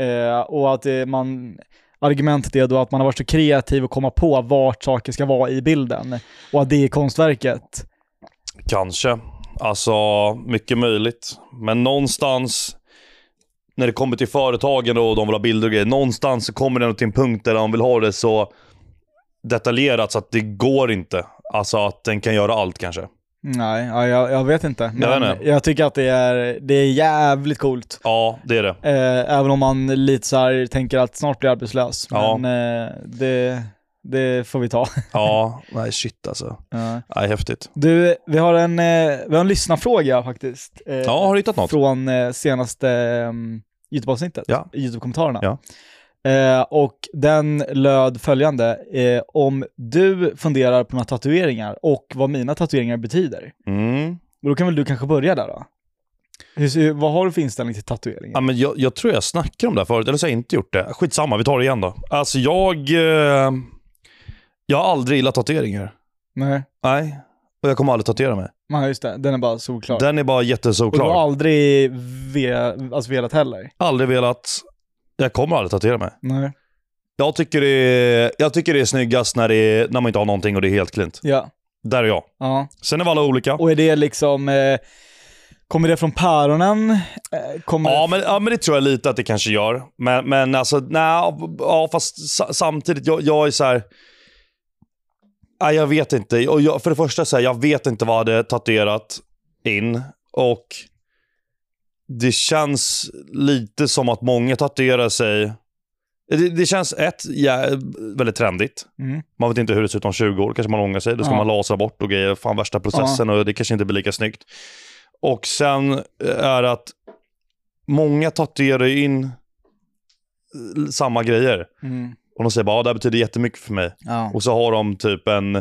Eh, och att eh, man... Argumentet är då att man har varit så kreativ och komma på vart saker ska vara i bilden. Och att det är konstverket.
Kanske. Alltså, mycket möjligt. Men någonstans, när det kommer till företagen och de vill ha bilder och grejer, någonstans så kommer det nog till en punkt där de vill ha det så detaljerat så att det går inte. Alltså att den kan göra allt kanske.
Nej, ja, jag, jag vet inte. Men
Jag
jag,
vet inte.
tycker att det är, det är jävligt coolt.
Ja, det är det.
Eh, även om man lite så här tänker att snart blir jag arbetslös.
Ja.
Men eh, det, det får vi ta.
Ja, nej shit alltså. Nej, häftigt.
Du, vi har en, eh, vi har en lyssnarfråga faktiskt. eh,
Ja, har du hittat något?
Från eh, senaste eh, YouTube-avsnittet,
Ja.
i YouTube-kommentarerna.
Ja.
Eh, och den löd följande. Eh, om du funderar på några tatueringar och vad mina tatueringar betyder.
Mm.
Och då kan väl du kanske börja där då? Hur, ser- vad har du för inställning till tatueringar?
Ja, men jag, jag tror jag snackade om det här förut, eller så har jag inte gjort det. Skitsamma, vi tar det igen då. Alltså jag... Eh, jag har aldrig gillat tatueringar.
Nej.
Nej, och jag kommer aldrig tatuera mig.
Nej, just det. Den är bara solklar.
Den är bara
och du
jättesolklar.
har aldrig ve, alltså velat heller?
Aldrig velat... Jag kommer aldrig tatuera mig.
Nej.
Jag tycker det är, jag tycker det är snyggast när, det är, när man inte har någonting och det är helt klint.
Ja.
Där är jag.
ja.
Sen är vi alla olika.
Och är det liksom, eh, kommer det från päronen? Eh, Kommer
Ja men, ja, men det tror jag lite att det kanske gör. Men, men alltså, nej, ja, fast sa- samtidigt, jag, jag är så här... Nej, jag vet inte. Och jag, för det första, så här, jag vet inte vad jag hade tatuerat in. Och det känns lite som att många tatuerar sig... Det, det känns ett, ja, väldigt trendigt.
Mm.
Man vet inte hur det ser ut om 20 år. kanske man ångrar sig. Då ska
Ja.
man lasra bort och grejer. Fan, värsta processen och det kanske inte blir lika snyggt. Och sen eh, är att många tatuerar ju in eh, samma grejer.
Mm.
Och de säger bara, ah, det här betyder jättemycket för mig.
Ja.
Och så har de typ en,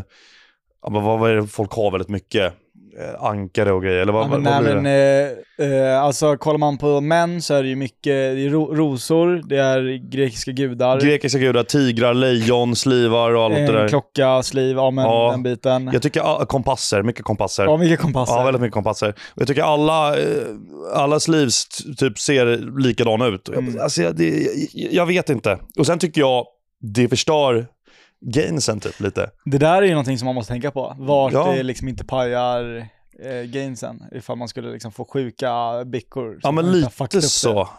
ja, men vad vad är det folk har väldigt mycket? Eh, Ankare och grejer, eller vad,
Ja, men,
vad, vad
nej,
blir
men,
det?
eh, eh, alltså kollar man på män så är det ju mycket, det är ro- rosor, det är grekiska gudar,
Grekiska gudar, tigrar, lejon, slivar och allt det
eh,
där.
klocka, sliv, ja men
Ja.
den biten.
Jag tycker ah, kompasser, mycket kompasser.
Ja, mycket kompasser.
Ja, väldigt mycket kompasser. Och jag tycker alla, eh, allas liv t- typ ser likadana ut. Och jag-
Mm.
Alltså, jag, det, jag, jag vet inte. Och sen tycker jag det förstör gainsen typ lite.
Det där är ju någonting som man måste tänka på. Vart
Ja.
det liksom inte pajar eh, gainsen. Ifall man skulle liksom få sjuka bickor.
Ja,
som
men
man inte har fuckat
lite
upp det.
så.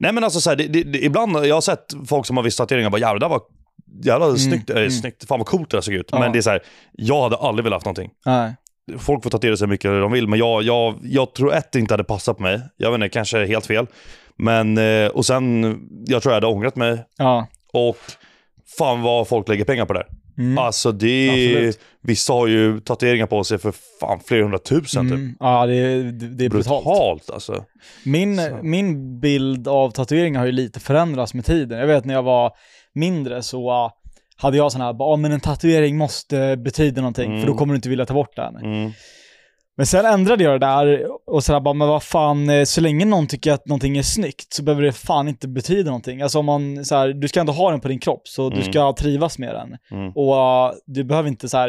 Nej, men alltså så här, det, det, det, ibland, jag har sett folk som har visst tatueringar och bara jävlar vad jävla snyggt, äh,
mm.
snyggt, fan vad coolt det där såg ut.
Ja.
Men det är så här, jag hade aldrig velat ha någonting.
Nej.
folk får tatuera sig mycket hur de vill, men jag, jag, jag tror ett det inte hade passat på mig. Jag vet inte, kanske är helt fel. Men, eh, och sen, jag tror jag hade ångrat mig.
Ja.
Och fan vad folk lägger pengar på det här.
Mm.
Alltså det
Absolut.
Vissa har ju tatueringar på sig för fan flera hundratusen typ.
Mm. Ja, det är, det det är brutalt.
Brutalt alltså.
Min,
Så.
min bild av tatueringar har ju lite förändrats med tiden. Jag vet när jag var mindre så ah, hade jag sån här, ja men en tatuering måste betyda någonting för då
Mm.
kommer du inte vilja ta bort den.
Mm.
Men sen ändrade jag det där och sådär bara, men vad fan, eh, så länge någon tycker att någonting är snyggt så behöver det fan inte betyda någonting. Alltså om man, så här, du ska ändå ha den på din kropp så du
Mm.
ska trivas med den.
Mm.
Och eh, du behöver inte så här,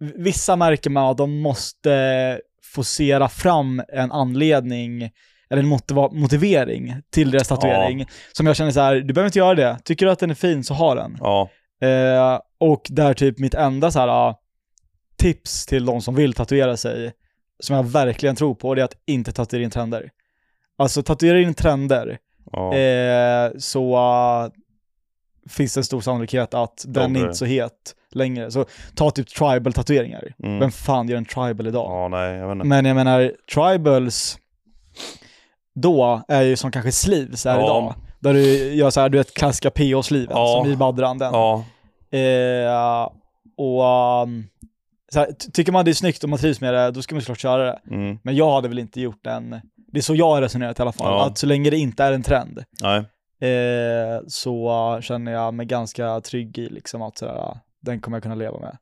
v- vissa märker man att de måste forcera fram en anledning eller en motiva- motivering till deras tatuering. Som jag känner så här, du behöver inte göra det. Tycker du att den är fin så ha den.
Ja.
Eh, och där typ mitt enda så här, ah, tips till de som vill tatuera sig, som jag verkligen tror på, det är att inte tatuera in trender. Alltså tatuera in trender,
ja.
eh, så ah, finns det en stor sannolikhet att den
blir
är
det.
inte så het längre. Så ta typ tribal-tatueringar.
Mm.
Vem fan gör en tribal idag?
ja, nej, jag vet inte.
Men jag menar, tribals då är ju som kanske sleeves är
Ja.
idag. Där du gör så här, du vet klassiska PH-sleeven
Ja.
som i baddran den.
Ja.
Eh, och um, så här, ty- tycker man det är snyggt och man trivs med det, då ska man såklart köra det.
Mm.
Men jag hade väl inte gjort en, det är så jag har resonerat i alla fall,
Ja.
att så länge det inte är en trend
Nej.
eh, så uh, känner jag mig ganska trygg i liksom att sådär, uh, den kommer jag kunna leva med.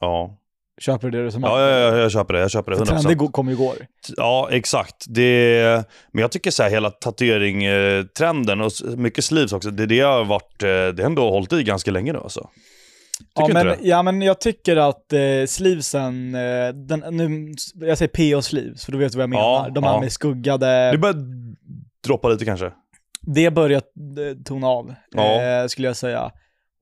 Ja.
Köper du det du som
Ja, ja, ja, jag köper det. Jag köper det.
För
100%.
trender go- kommer ju gå.
Ja, exakt. Det, men jag tycker så här, hela tatueringtrenden och s- mycket sleeves också, det, det har varit, eh, det har ändå hållit i ganska länge nu alltså.
Ja
Tycker du inte
men, ja men jag tycker att eh, sleevesen, eh, den, nu, jag säger PH sleeves för då vet du vad jag menar.
Ja,
De här
ja.
med skuggade,
Det börjar droppa lite kanske.
det börjar eh, tona av,
Ja.
eh, skulle jag säga.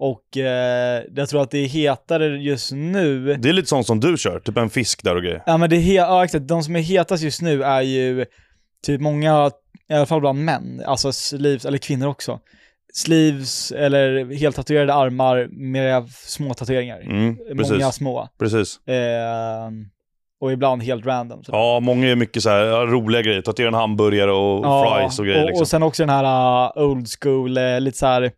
Och eh, jag tror att det är hetare just nu.
Det är lite sånt som du kör, typ en fisk där och grejer.
Ja, men det är he- ja, exakt. De som är hetast just nu är ju typ många, i alla fall bland män, alltså sleeves, eller kvinnor också. Sleeves eller heltatuerade armar med små tatueringar.
Mm, precis.
Många små.
precis.
Eh, och ibland helt random. Så.
Ja, många är mycket så här, ja, roliga grejer. Tatuera en hamburgare och fries och grejer.
och,
liksom.
äh, och sen också den här uh, old school, eh, lite så här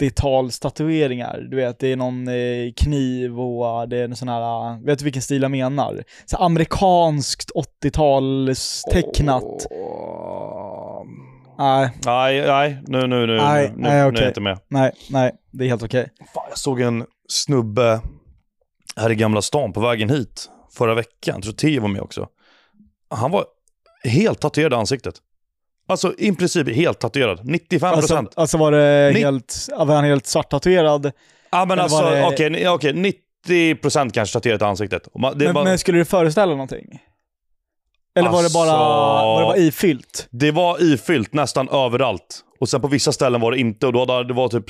80-talstatueringar. Du vet, det är någon eh, kniv och eh, det är en sån här, eh, vet du vilken stil jag menar? Så här amerikanskt 80-talstecknat.
Åh.
Nej,
Nej, nej, nu, nu, nu,
Nej,
nu,
nej,
nu är
okej.
jag inte med.
nej, nej, det är helt okej.
Fan, jag såg en snubbe här i Gamla stan på vägen hit förra veckan. Jag tror Theo var med också. Han var helt tatuerad i ansiktet. Alltså i princip helt tatuerad. 95%.
Alltså, alltså var det
Ni-
helt, ja, var han helt svarttatuerad?
ja men
eller
alltså
var det-
okej, ni- okej, 90% kanske tatuerat i ansiktet. Och man- Det,
Men,
var,
men skulle det föreställa någonting? Eller var, det bara,
Alltså-
var det bara ifyllt?
det var ifyllt nästan överallt. Och sen på vissa ställen var det inte. Och då hade, det var typ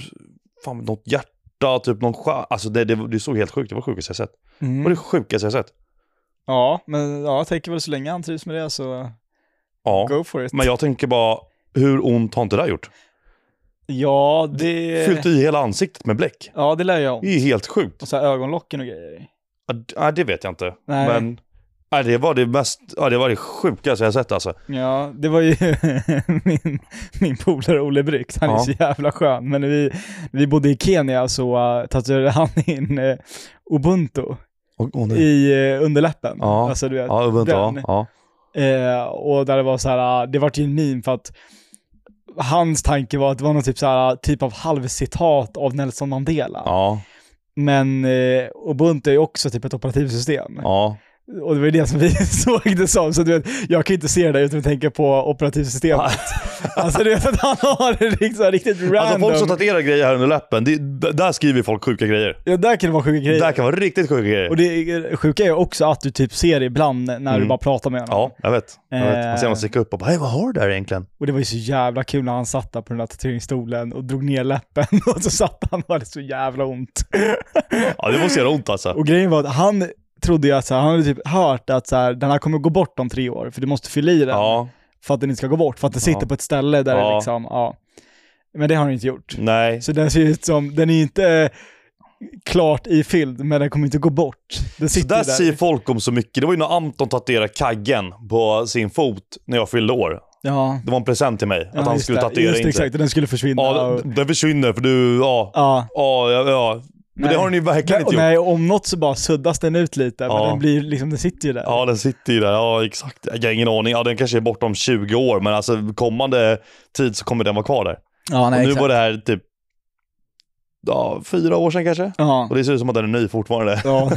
fan, något hjärta, typ någon skär. Alltså det, det, det såg helt sjukt Det var det sjukaste jag sett. Det var det sjukaste jag sett.
Mm. Ja, men ja, jag tänker väl så länge han trivs med det så
Ja.
go for it.
Men jag tänker bara, hur ont har inte det där gjort?
Ja, det...
Fyllt i hela ansiktet med bläck.
Ja, det lär jag om.
Det är helt sjukt.
Och så här ögonlocken och grejer.
Ja, d- Nej, det vet jag inte.
Nej.
Men nej, det var det mest, ja, det var det sjukaste jag sett alltså.
Ja, det var ju min, min polare Olle Bryx, han är
Ja.
så jävla skön. Men när vi, vi bodde i Kenya så uh, tatuerade han in eh, Ubuntu
Åh, åh, nej.
i eh, underläppen.
Ja.
Alltså du vet.
Ja, vänta. Ja,
den.
ja.
Eh, och där det var så här, eh, det vart ju en meme för att hans tanke var att det var någon typ, så här, typ av halvcitat av Nelson Mandela.
ja,
Men eh, Ubuntu är ju också typ ett operativsystem.
ja.
Och det var ju det som vi såg det som, så du vet, jag kan ju inte se det där utan att tänka på operativsystemet. alltså du vet att han har det liksom riktigt random.
Alltså folk som tatuerar grejer här under läppen, det, d- där skriver folk sjuka grejer.
ja, där kan det vara sjuka
Det
grejer.
där kan vara riktigt sjuka
Och
grejer.
det sjuka är ju också att du typ ser det ibland när du
Mm.
bara pratar med honom.
Ja, jag vet. Jag vet. Man ser
Eh.
någon sticka upp och bara, hej vad har du där egentligen?
Och det var ju så jävla kul när han satt där på den där tatueringsstolen och drog ner läppen och så satt han och hade så jävla ont.
Ja, det måste göra ont alltså.
Och grejen var att han trodde ju att så här, han hade typ hört att så här, den här kommer gå bort om tre år för du måste fylla i den
Ja,
för att den inte ska gå bort, för att den sitter
Ja.
på ett ställe där det
Ja.
liksom, ja. Men det har den inte gjort.
nej.
Så den ser ut som, den är inte eh, klart ifylld, men den kommer inte gå bort. Den
Så
sitter
där
ju där.
säger folk om så mycket. Det var ju när Anton tatuerade kaggen på sin fot när jag fyllde år.
Ja.
Det var en present till mig, att han
just
skulle
det,
tatuera
just det,
in sig.
exakt, den skulle försvinna.
Ja,
och,
d- den försvinner för du, ja.
ja.
Ja, ja, ja. Men
Nej.
det har den ju verkligen
Och
inte gjort.
nej, om något så bara suddas den ut lite, men
Ja.
den, blir, liksom, den sitter ju där.
Ja, den sitter ju där. Ja, exakt. Jag har ingen aning. Ja, den kanske är borta om 20 år, men alltså kommande tid så kommer den vara kvar där.
Ja,
och nu var det här typ, ja, fyra år sedan kanske.
Ja.
Och det ser ut som att den är ny fortfarande.
Ja.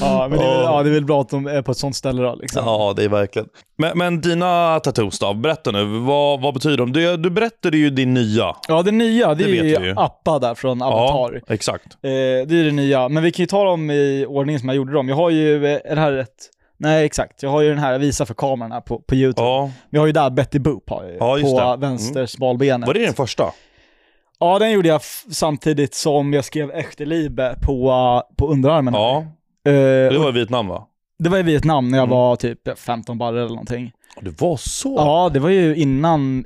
ja, men det är, väl, ja, det är väl bra att de är på ett sånt ställe då. Liksom.
Ja, det är verkligen. Men, men dina tattoos då? Berätta nu. Vad, vad betyder de? Du, du berättade ju din nya.
ja, det nya, det,
Det
är
vet vi
ju
ju.
Appa där från Avatar.
Ja, exakt.
Eh, det är det nya, men vi kan ju ta dem i ordning som jag gjorde dem. Jag har ju, eh, är det här rätt? Nej exakt, jag har ju den här, jag visar för kameran här på, på YouTube.
Ja.
Vi har ju där Betty Boop har jag ju,
Ja, just
på
det. Mm.
vänster smalbenet.
Var det den första?
Ja, den gjorde jag f- samtidigt som jag skrev Echterliebe på, eh, på underarmen.
Ja.
Eh,
Det Mm.
och
var i Vietnam va?
det var i Vietnam när jag var typ 15 barre eller någonting.
Ja, Det var så?
Ja, det var ju innan,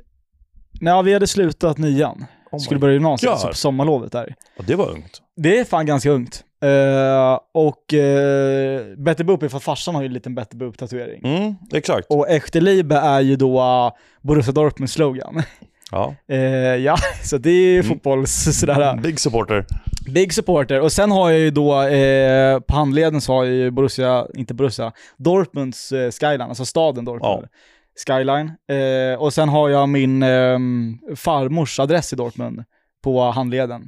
när vi hade slutat nian.
Oh my
skulle börja gymnasiet,
God.
så på sommarlovet där.
Ja, det var ungt.
Det är fan ganska ungt. Eh, och uh, Betty Boop är för farsan har ju en liten Betty Boop-tatuering.
Mm, exakt.
Och Echterliebe är ju då uh, Borussia Dortmund-slogan.
Ja.
Eh, ja, så det är ju fotbolls sådär.
Big supporter.
Big supporter. Och sen har jag ju då, eh, på handleden så har jag ju Borussia, inte Borussia, Dortmunds eh, skyline, alltså staden Dortmund. Skyline. Eh, och sen har jag min ehm, farmors adress i Dortmund på handleden.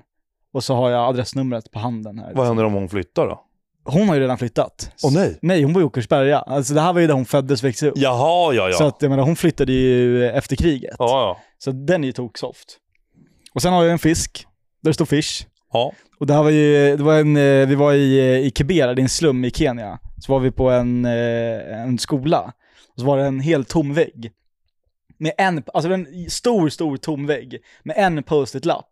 Och så har jag adressnumret på handen här.
Vad händer om hon flyttar då?
Hon har ju redan flyttat.
Åh, nej.
Nej, hon bor i Åkersberga. Alltså det här var ju där hon föddes och växte upp.
Jaha, ja, ja.
Så att jag menar, hon flyttade ju efter kriget.
ja, ja.
Så den är ju toksoft. Och sen har jag en fisk, där det står fish.
ja.
Och det här var ju, det var en, eh, vi var i, eh, i Kibera, det är en slum i Kenya. Så var vi på en, eh, en skola. Och så var det en helt tom vägg. Med en, alltså en stor, stor tom vägg. Med en post-it-lapp.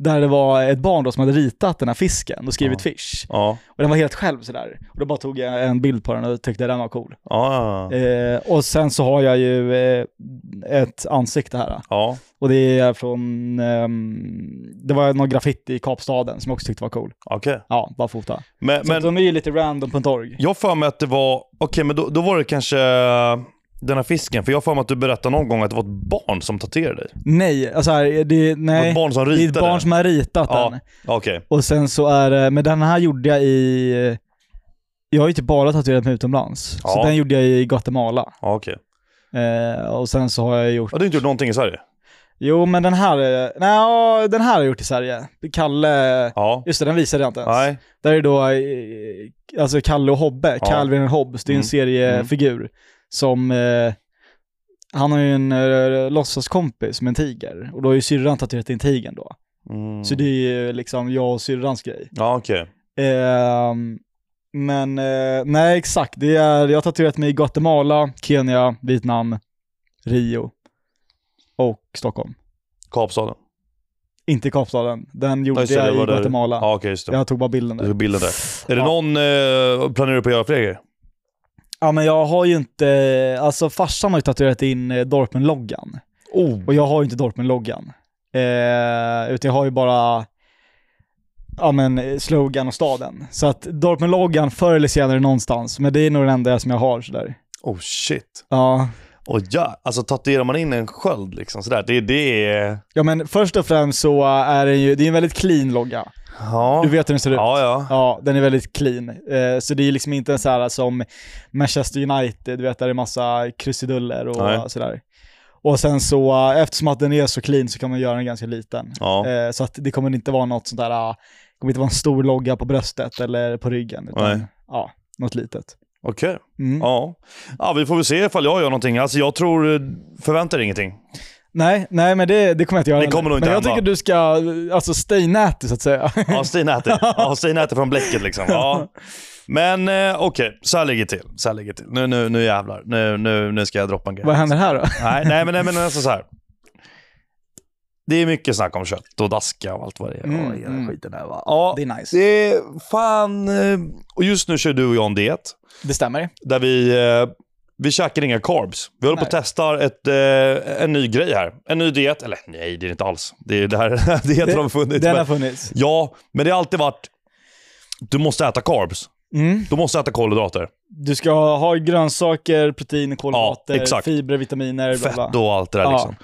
Där det var ett barn då som hade ritat den här fisken och skrivit fish.
Ja,
Och den var helt själv sådär. Och då bara tog jag en bild på den och tyckte den var cool.
ja, ja.
Eh, och sen så har jag ju eh, ett ansikte här.
ja.
Och det är från, ehm, det var någon graffiti i Kapstaden som jag också tyckte var cool.
okej.
Ja, bara fota.
Men,
Men,
men
de är ju lite random på en torg.
jag har för mig att det var, okej men då, då var det kanske eh, den här fisken? För jag har för mig att du berättade någon gång att det var ett barn som tatuerade dig.
Nej, alltså här, det,
Det var
nej.
ett barn som
det är ett
ritade.
barn som har ritat den.
Ja, okej.
Och sen så är det- men den här gjorde jag i... eh, Jag har ju typ bara tatuerat mig utomlands. Så
Ja.
den gjorde jag i Guatemala.
Ja, okej.
Eh, och sen så har jag gjort...
Ja, du har inte gjort någonting i Sverige?
Jo men den här, eh, nej, den här har jag gjort i Sverige. Kalle...
Ja.
Just det, den visade jag inte ens.
Nej.
Där är då eh, alltså Kalle och Hobbe,
Ja.
Calvin och Hobbes, det är en
Mm.
seriefigur som eh, han har ju en eh, låtsaskompis med en tiger och då har ju syrran tatuerat in tigern då.
Mm.
Så det är ju liksom jag och syrrans grej.
Ja, okej.
Ehm, men eh, nej exakt, det är, jag har tatuerat mig i Guatemala, Kenya, Vietnam, Rio och Stockholm.
Kapstaden.
Inte Kapstaden, den gjorde
just det,
jag
det
i
var där.
Guatemala.
Ja, okej, just det.
Jag tog bara bilden
Du
där.
tog bilden där. Är det
Ja.
någon, eh, planerar du på att göra fler grejer?
Ja men jag har ju inte, alltså farsan har ju tatuerat in eh, Dortmund-loggan.
Oh.
Och jag har ju inte Dortmund-loggan. Eh, utan jag har ju bara, ja men eh, slogan och staden. Så att Dortmund-loggan förr eller senare någonstans, men det är nog den enda som jag har sådär.
oh shit.
Ja.
Och ja, alltså tatuerar man in en sköld liksom sådär, det, det är...
ja men först och främst så eh, är den ju, det är en väldigt clean logga.
Ja.
Du vet hur den ser ut.
ja, ja.
Ja, den är väldigt clean. Eh, så det är liksom inte en så här som Manchester United, du vet där det är massa krusiduller och
Nej.
sådär. Och sen så, eh, eftersom att den är så clean så kan man göra den ganska liten.
Ja.
Eh, så att det kommer inte vara något sånt där, ah, det kommer inte vara en stor logga på bröstet eller på ryggen. Utan,
Nej.
ja, något litet.
Okej.
Mm.
Ja. ja, vi får väl se ifall jag gör någonting. Alltså jag tror, eh, förväntar ingenting.
Nej, nej men det, det kommer jag inte göra.
Det
heller.
kommer nog inte
men jag
hända.
tycker du ska, alltså stay natty så att säga.
Ja, Stina äter. Ja, Stina äter från bläcket liksom. Ja. Men eh, okej, så här ligger det till. Så här ligger det till. Nu, nu, nu jävlar. Nu, nu, nu ska jag droppa en grej.
Vad händer här då?
Nej, nej, men, nej, men alltså så här. Det är mycket snack om kött och daska och allt vad det är.
Mm,
och hela
mm.
skiten där, va? Ja,
Det är nice.
det är fan... eh, Och just nu kör du och jag en diet
Det stämmer.
där vi, eh, vi käkar inga carbs. Vi håller på
Nej.
att testa ett, eh, en ny grej här. En ny diet. Eller nej, det är det inte alls. Det är det här dieten har funnits.
Den
men-
har funnits.
Ja, men det har alltid varit... Du måste äta carbs.
Mm.
Du måste äta kolhydrater.
Du ska ha grönsaker, protein, kolhydrater,
Ja, exakt.
fibrer, vitaminer, bla bla.
Fett och allt det där
Ja.
liksom.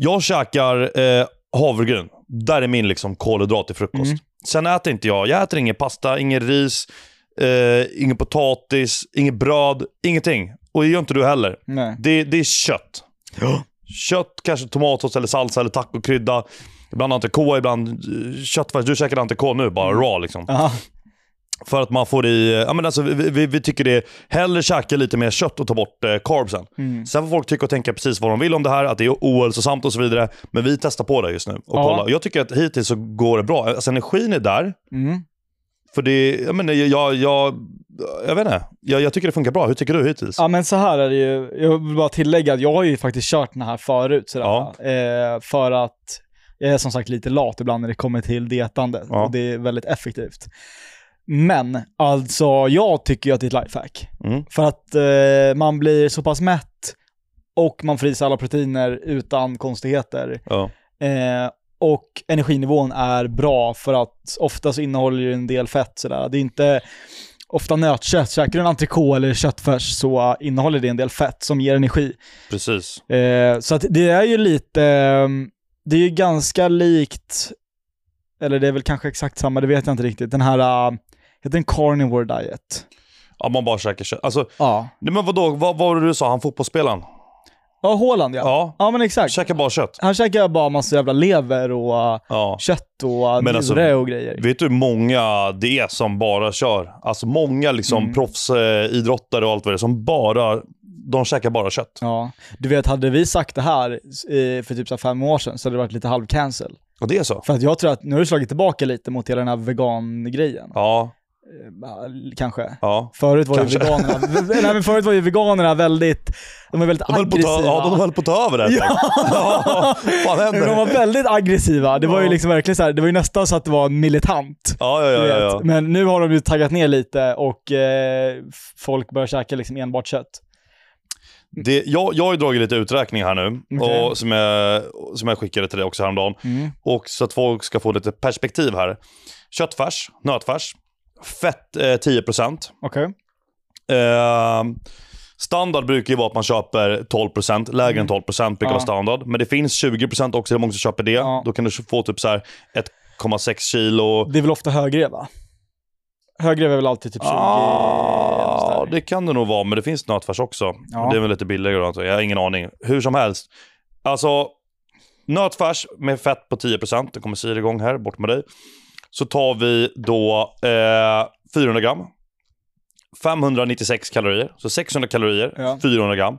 Jag käkar eh, havregryn. Där är min liksom, kolhydrat till frukost.
Mm.
Sen äter inte jag. Jag äter ingen pasta, ingen ris, eh, ingen potatis, inget bröd, ingenting. Och det gör inte du heller.
Nej.
Det, det är kött.
Ja.
Kött, kanske tomatsås eller salsa eller tacokrydda. Ibland antikå, ibland eh, köttfärs. Du käkar antikå nu bara,
Mm.
raw liksom.
Ja.
För att man får i... Ja, men alltså, vi, vi, vi tycker det är hellre käka lite mer kött och ta bort eh, carbsen.
Mm.
Sen får folk tycka och tänka precis vad de vill om det här, att det är ohälsosamt och så vidare. Men vi testar på det just nu och
Ja.
kollar. Och Jag tycker att hittills så går det bra. Alltså energin är där.
Mm.
För det, jag, menar, jag, jag, jag vet inte. Jag, jag tycker det funkar bra. Hur tycker du hittills?
ja men så här är det ju, jag vill bara tillägga att jag har ju faktiskt kört den här förut sådär,
Ja.
eh, för att jag är som sagt lite lat ibland när det kommer till dietande
Ja.
och det är väldigt effektivt. Men alltså jag tycker ju att det är ett lifehack.
Mm.
För att eh, man blir så pass mätt och man får i sig alla proteiner utan konstigheter.
Ja.
Eh, och energinivån är bra för att ofta så innehåller ju en del fett sådär. Det är inte ofta nötkött. Käkar du en entrecote eller köttfärs så innehåller det en del fett som ger energi.
Precis.
Eh, så att det är ju lite, eh, det är ju ganska likt, eller det är väl kanske exakt samma, det vet jag inte riktigt. Den här, eh, heter den carnivore diet?
Ja, man bara käkar kött. Alltså,
Ja.
nej, men vadå? Vad vad var det du sa? Han fotbollsspelaren?
Ja, Håland ja. ja.
Ja.
men exakt.
Käka bara kött.
Han käkar bara massa jävla lever och eh,
Ja.
kött och eh,
Men alltså,
njure och grejer.
Vet du hur många det är som bara kör? Alltså många liksom
Mm.
proffsidrottare och allt vad det är som bara... De käkar bara kött.
Ja, du vet hade vi sagt det här eh, för typ så här fem år sedan så hade det varit lite halvcancel.
Och det är så?
För att jag tror att nu har du slagit tillbaka lite mot hela den här vegan-grejen.
Ja,
Eh, Kanske.
ja.
Förut var
Kanske.
ju veganerna, nej, men förut var ju veganerna väldigt, de är väldigt
De höll på att
aggressiva.
ta, ja, de höll på att ta över det här. Ja, fan
Men de
händer?
var väldigt aggressiva. Det var ju
Ja.
liksom verkligen så här, det var ju nästan så att det var militant.
Ja, ja, ja.
du
ja,
vet. Mm.
ja.
Men nu har de ju taggat ner lite och eh, folk börjar käka liksom enbart kött.
Det, jag, jag har ju dragit lite uträkning här nu,
Okej.
och, som, jag, som jag skickade till dig också häromdagen. Och så att folk ska få lite perspektiv här. Köttfärs, nötfärs, fett eh, 10%.
Okej.
Eh, Standard brukar ju vara att man köper 12%, lägre än 12% brukar
Mm. Ja.
vara standard. Men det finns 20% också, det är många som köper det.
Ja.
Då kan du få typ så här 1,6 kilo.
Det är väl ofta högre va? Högre är väl alltid typ 20?
Ah. Ja,
eller
det kan det nog vara, men det finns nötfärs också.
Ja.
Det är väl lite billigare, antar jag. jag har ingen aning. Hur som helst. Alltså, nötfärs med fett på 10%, det kommer Siri igång här, bort med dig. Så tar vi då eh, 400 gram. 596 kalorier, så 600 kalorier,
Ja.
400 gram.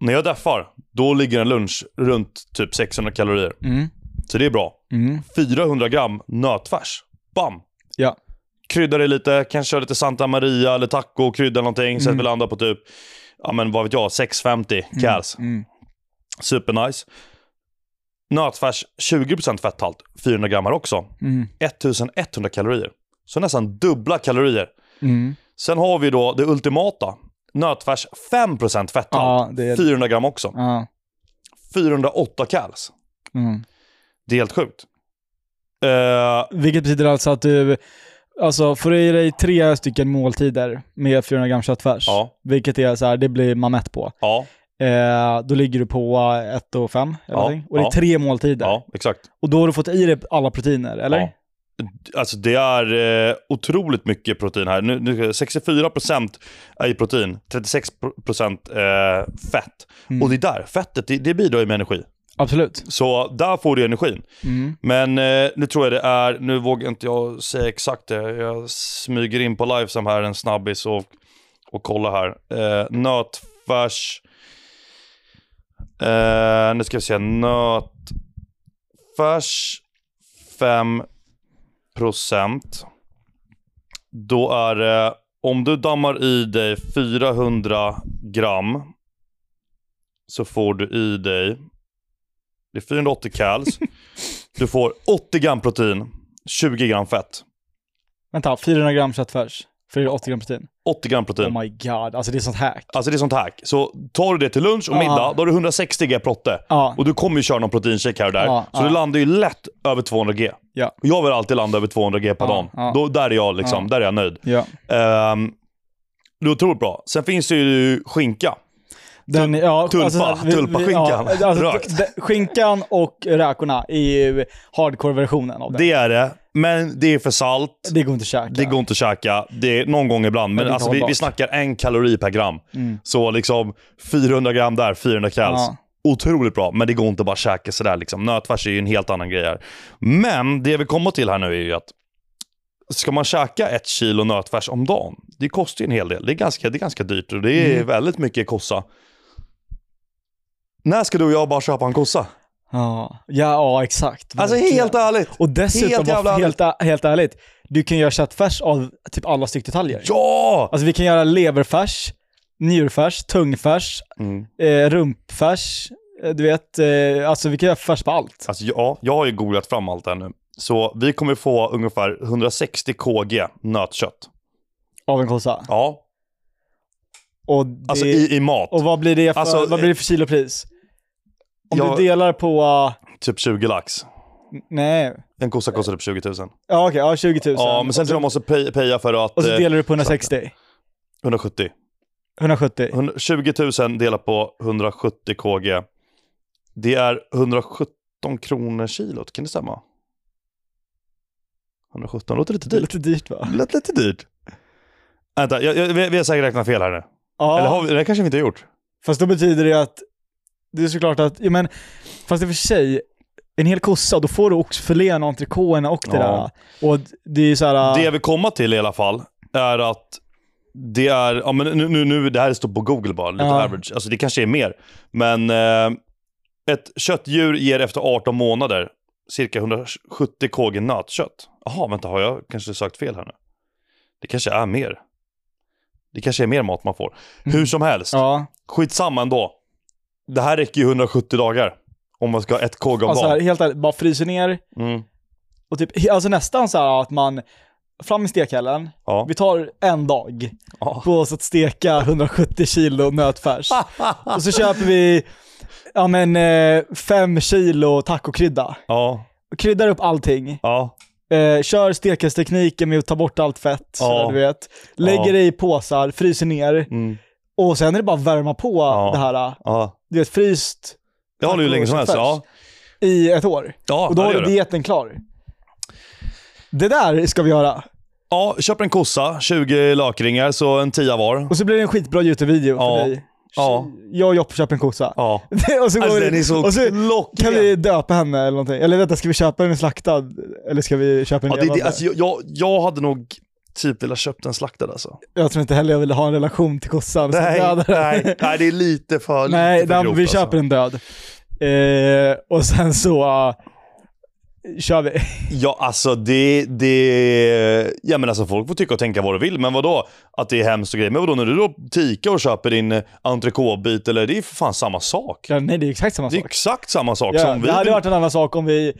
När jag deffar, då ligger en lunch runt typ 600 kalorier.
Mm.
Så det är bra.
Mm.
400 gram nötfärs. Bam!
Ja.
Kryddar det lite, kanske köra lite Santa Maria eller taco, krydda någonting. Så att vi
Mm.
landar på typ, ja men vad vet jag, 650 kals.
Mm.
Supernice. Nötfärs 20% fetthalt, 400 gram här också.
Mm.
1100 kalorier. Så nästan dubbla kalorier.
Mm.
Sen har vi då det ultimata. Nötfärs 5% fetthalt,
Ja, det är...
400 gram också.
Ja.
408 kals.
Mm.
Det är helt sjukt. Eh,
Vilket betyder alltså att du alltså, får i dig tre stycken måltider med 400 gram köttfärs.
ja,
Vilket är så här, det blir man mätt på.
ja,
Eh, då ligger du på eh, ett och fem eller
Ja,
någonting. Och det är
ja.
tre måltider.
ja, exakt.
Och då har du fått i dig alla proteiner, eller?
Ja. Alltså det är eh, otroligt mycket protein här. Nu, nu, 64% är i protein, 36% eh, fett.
Mm.
Och det är där, fettet, det, det bidrar ju med energi.
Absolut.
Så där får du energin.
Mm.
Men eh, nu tror jag det är, nu vågar inte jag säga exakt det. Jag smyger in på livesam här en snabbis och, och kollar här. Eh, nötfärs. Eh, nu ska vi se, nötfärs 5%. Då är det, om du dammar i dig 400 gram så får du i dig, det är 480 kals. Du får 80 gram protein, 20 gram fett.
Vänta, 400 gram köttfärs. För 80 gram protein.
80 gram protein.
Oh my god, alltså det är sånt hack.
alltså det är sånt hack. Så tar du det till lunch och
Ja.
middag, då har du 160 g protte.
Ja,
Och du kommer ju köra någon proteinshake här och där.
Ja,
så
ja.
du landar ju lätt över 200 g.
Ja.
Jag vill alltid landa över 200 g per
Ja,
dag.
ja.
Då, där är jag liksom,
Ja.
där är jag nöjd.
ja.
Ehm, det är otroligt bra. Sen finns det ju skinka.
Den, ja
Tulpa,
såhär, vi- vi-
tulpaskinkan.
ja, alltså,
Rökt.
d- Skinkan och räkorna är ju hardcore-versionen av det. det.
Det är det, men det är för salt.
går inte att käka.
Det går inte att käka. Det är någon gång ibland, men
det är
alltså, vi,
hållbart.
vi snackar en kalori per gram.
Mm.
Så liksom 400 gram där, 400 kals.
Ja.
Otroligt bra, men det går inte att bara käka sådär. Liksom. Nötfärs är ju en helt annan grej här. Men det vi kommer till här nu är ju att ska man käka ett kilo nötfärs om dagen, det kostar ju en hel del. Det är ganska, det är ganska dyrt och det är
Mm.
väldigt mycket kossa. När ska du och jag bara köpa en kossa?
Ja, ja, ja exakt.
Alltså
Verkligen.
helt ärligt.
Och dessutom,
helt
helt,
jävla
helt, ä- helt ärligt, du kan göra köttfärs av typ alla styckdetaljer.
Ja!
Alltså vi kan göra leverfärs, njurfärs, tungfärs,
Mm.
eh, rumpfärs, eh, du vet, eh, alltså vi kan göra färs på allt.
Alltså ja, jag har ju googlat fram allt det här nu. Så vi kommer få ungefär 160 kg nötkött.
Av en kossa.
Ja,
Och, det,
alltså i, i mat.
och vad blir det för,
Alltså,
vad blir det för kilopris? Om
jag-
du delar på, uh,
Typ 20 lax.
nej,
En kossa kostar typ 20 000.
ja okej, ja 20 000.
Ja, men sen tror jag
och, så,
man måste pay- paya för att...
och så
eh,
delar du på 160,
170.
170.
100 20 000 delat på 170 kg. Det är 117 kronor kilot, kan det stämma? 117, låter lite
Det är
dyrt.
lite dyrt va?
Det lät lite dyrt. Vänta, jag, jag, vi, vi har säkert räknat fel här nu.
Ja.
Eller har vi, det kanske vi inte har gjort.
Fast då betyder det att, det är såklart att, ja, men, fast i och för sig, en hel kossa, då får du oxfilén och entrecôterna och det
Ja.
där. Och det är ju såhär...
Det jag vill komma till i alla fall är att det är, ja men nu, nu, nu det här står på Google bara, lite
Ja.
average. Alltså det kanske är mer. Men eh, ett köttdjur ger efter 18 månader cirka 170 kg nötkött. Jaha, vänta, har jag kanske sökt fel här nu? Det kanske är mer. Det kanske är mer mat man får. Hur som helst,
Mm. Ja,
skitsamma ändå. Det här räcker ju 170 dagar. Om man ska ha ett kg om
alltså här,
dagen.
helt ärligt, bara fryser ner
Mm,
och typ, he- alltså nästan så här att man, fram i stekhällen,
ja.
vi tar en dag
Ja.
på oss att steka 170 kilo nötfärs.
Ah,
och så köper vi, ja men, eh, fem kilo tacokrydda.
ja,
Och Kryddar upp allting.
ja,
Eh, kör stekestekniken med att ta bort allt fett,
Ja.
sådär, du vet. Lägger
Ja.
det i påsar, fryser ner.
mm,
Och sen är det bara att värma på
Ja.
det här,
Ja.
du vet, fryst
Det håller ju länge som helst. Ja,
i ett år.
ja,
Och då
ja,
har
det
du
gör det.
dieten klar. Det där ska vi göra.
ja, köp en kossa, 20 lakringar, så en 10 var.
Och så blir det en skitbra YouTube-video
Ja.
för dig.
Ja.
Jag och Jopp köper en kossa.
Ja.
och så
Alltså
går vi,
den är så
och så
klockren.
kan vi döpa henne eller någonting. Eller vänta, ska vi köpa den slaktad? Eller ska vi köpa den
Ja, det, det,
levande?
alltså, jag- jag, jag hade nog typ velat köpt en slaktad alltså.
Jag tror inte heller jag vill ha en relation till kossan. som dödar den.
nej, nej, det är lite för
Nej,
lite för
nej,
grovt,
vi
alltså.
köper en död. Eh, och sen så eh, kör vi.
Ja, alltså det... det ja, men alltså, folk får tycka och tänka vad de vill, men vadå? Att det är hemskt och grejer. Men vadå, när du då tikar och köper din eh, entrecôte-bit, eller det är för fan samma sak.
Ja, nej, det är exakt samma
Det är
sak.
exakt samma sak
Ja,
som vi
det hade
vill-
varit en annan sak om vi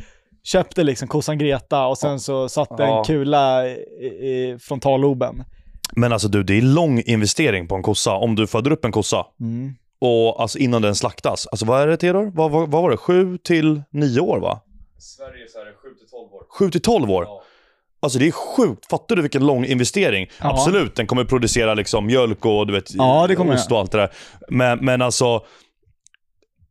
köpte liksom kossan Greta och sen så satte
Ja.
en kula i, i frontalloben.
Men alltså du, det är lång investering på en kossa. Om du föder upp en kossa,
Mm.
och alltså innan den slaktas. Alltså vad är det Theodor? Vad, vad, vad var det? 7 till 9 år va?
Sverige så är det 7 till 12 år.
7 till 12 år?
Ja.
Alltså det är sjukt. Fattar du vilken lång investering?
Ja.
Absolut, den kommer producera liksom mjölk och du vet,
Ja, det kommer
ost och allt det där. Men, men alltså,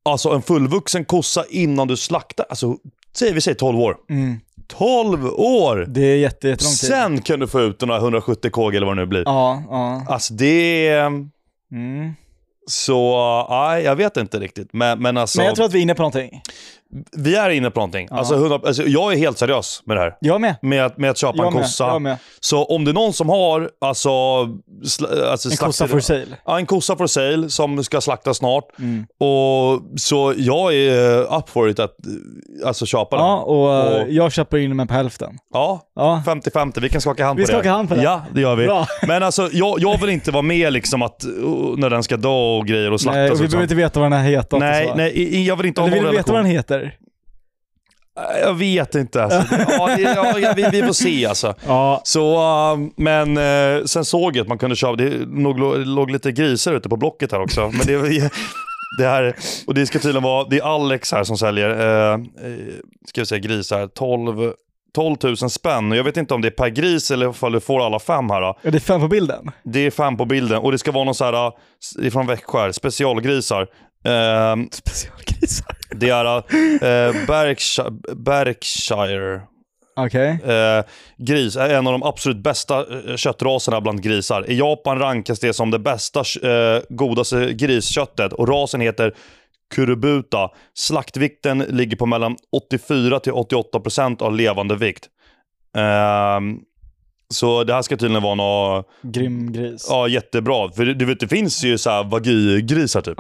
alltså en fullvuxen kossa innan du slaktar. Alltså, säg, vi säger 12 år.
Mm.
12 år!
Det är jätte, jättelång tid.
Sen kan du få ut de här 170 kg eller vad det nu blir.
Ja, ja.
Alltså det är...
Mm.
Så, nej, jag vet inte riktigt. Men, men alltså,
Men jag tror att vi är inne på någonting.
vi är inne på någonting. Alltså, 100, alltså, jag är helt seriös med det här.
Jag med.
Med att, med att köpa en
Jag med.
kossa.
Jag med.
Så om det är någon som har, alltså... Sl- alltså
En kossa for sale. Mm.
Ja, en kossa for sale som ska slaktas snart. Och, så jag är eh, up for it att eh, alltså, köpa den.
Ja, och, eh,
Och-
jag köper in den på hälften.
Ja,
Ja.
50-50. Vi kan skaka hand
Vi
på det.
skakar hand på det.
Ja, det gör vi.
Bra.
Men alltså, jag, jag vill inte vara med liksom att, uh, när den ska dö och grejer och slaktas.
Nej, och
och
vi behöver
sånt.
inte veta vad den här heter.
nej,
Så.
nej, i- i- jag vill inte ha
Eller
någon
vill du veta
relation.
vad den heter?
Äh, Jag vet inte. Alltså. Ja, det, ja, ja, vi, vi får se alltså.
Ja.
Så, eh, men eh, sen såg jag att man kunde köpa, det låg, låg lite grisar ute på Blocket här också. Men det, det här, och det ska tydligen vara, det är Alex här som säljer, eh, eh, ska vi säga grisar, 12, 12 000 spänn. Och jag vet inte om det är per gris eller om du får alla fem här. Då.
ja, det är fem på bilden.
Det är fem på bilden och det ska vara någon så här, eh, det är från Växjö, här, specialgrisar. Eh,
Specialgrisar.
det är eh, Berkshire, Berkshire
Okej.
Eh, gris är en av de absolut bästa eh, köttraserna bland grisar. I Japan rankas det som det bästa, eh, godaste grisköttet och rasen heter kurubuta. Slaktvikten ligger på mellan 84 till 88 procent av levande vikt. Ehm, så det här ska tydligen vara något
Grym gris. Ja,
ja, jättebra. För du vet, det finns ju så här vagygrisar typ.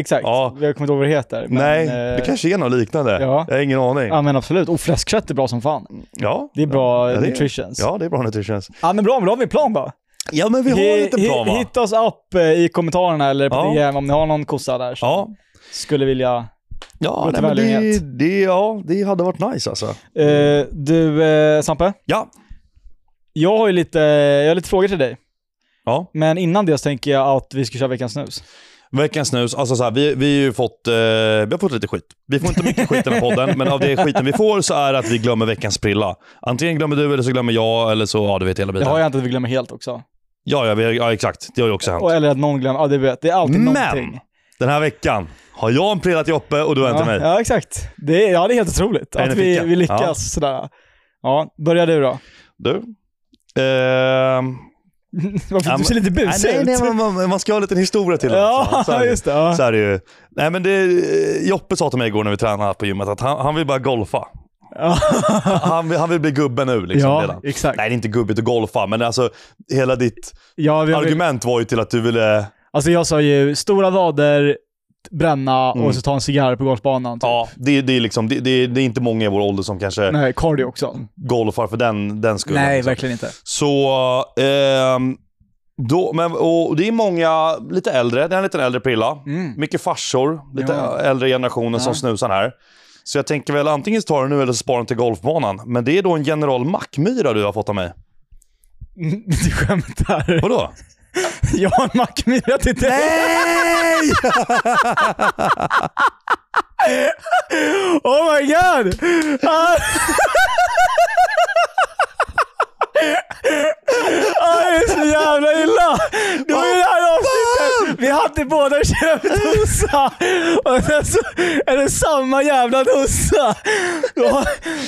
exakt.
Ja.
Jag kommer inte ihåg vad det heter. Men,
Nej,
eh,
det kanske är något liknande.
ja.
Jag har ingen aning.
Ja men absolut. Och fläskkött är bra som fan.
Ja,
Det är bra
Ja, det är-
nutritions. Ja.
ja det är bra nutritions.
men bra, men då har vi plan va?
Ja, men vi har
Hi-
lite
hi-
plan va?
Hitta oss upp eh, i kommentarerna eller på
Ja.
DM om ni har någon kossa där som
Ja,
skulle vilja...
Ja,
Gå
nej,
till
men det,
välgörenhet.
det, ja, det hade varit nice alltså.
Eh, du eh, Sampe,
Ja.
jag har ju lite, jag har lite frågor till dig.
ja.
Men innan det så tänker jag att vi ska köra veckans snus.
Veckans snus, alltså så här, vi, vi, har ju fått, eh, vi har fått lite skit. Vi får inte mycket skit i den här podden, men av det skiten vi får så är det att vi glömmer veckans prilla. Antingen glömmer du eller så glömmer jag, eller så, ja du vet hela
Det
biten.
har jag inte att vi glömmer helt också.
Ja, ja, vi, har- ja, exakt. Det har ju också hänt.
Och, eller att någon glömmer, ja det vet, det är alltid
Men!
någonting.
Den här veckan har jag en prilla till Joppe och du har en
Ja,
till mig.
ja exakt. Det är, ja det är helt otroligt
Är det
att vi,
ficka?
vi lyckas
Ja.
sådär. Ja, börja du då.
Du? Ehm,
Varför
Ja,
du ser lite busig
nej,
ut?
nej, man, man, man ska ha en liten historia till
ja,
också. Så är det ju.
just det. Ja.
Så är det ju. Nej, men det, Joppe sa till mig igår när vi tränade på gymmet att han, han vill bara golfa.
Ja.
han, vill, han vill bli gubbe nu liksom
ja,
redan.
exakt.
Nej, det är inte gubbigt att golfa, men alltså hela ditt
Ja, vi har,
argument var ju till att du ville...
Alltså jag sa ju stora vader, bränna
Mm.
och så ta en cigarr på golfbanan. Typ.
Ja, det, det, är liksom, det, det, är- det är inte många i vår ålder som kanske
Nej, cardio också.
golfar för den, den skull.
Nej,
liksom.
verkligen inte.
Så... ehm, då, men, och det är många lite äldre, det är en liten äldre prilla.
Mm.
Mycket farsor, lite
Ja.
äldre generationen som
Ja.
snusar här. Så jag tänker väl antingen så tar du den nu eller så sparar den till golfbanan. Men det är då en General Mackmyra du har fått av mig.
Du skämtar.
Vadå?
Jag har en mackmyra till dig.
Nej!
Oh my god! Ah. Ah, det är så jävla illa! Det var ju det här avsnittet! Vi hade båda köpt dosa och sen så är det samma jävla dosa. Ja,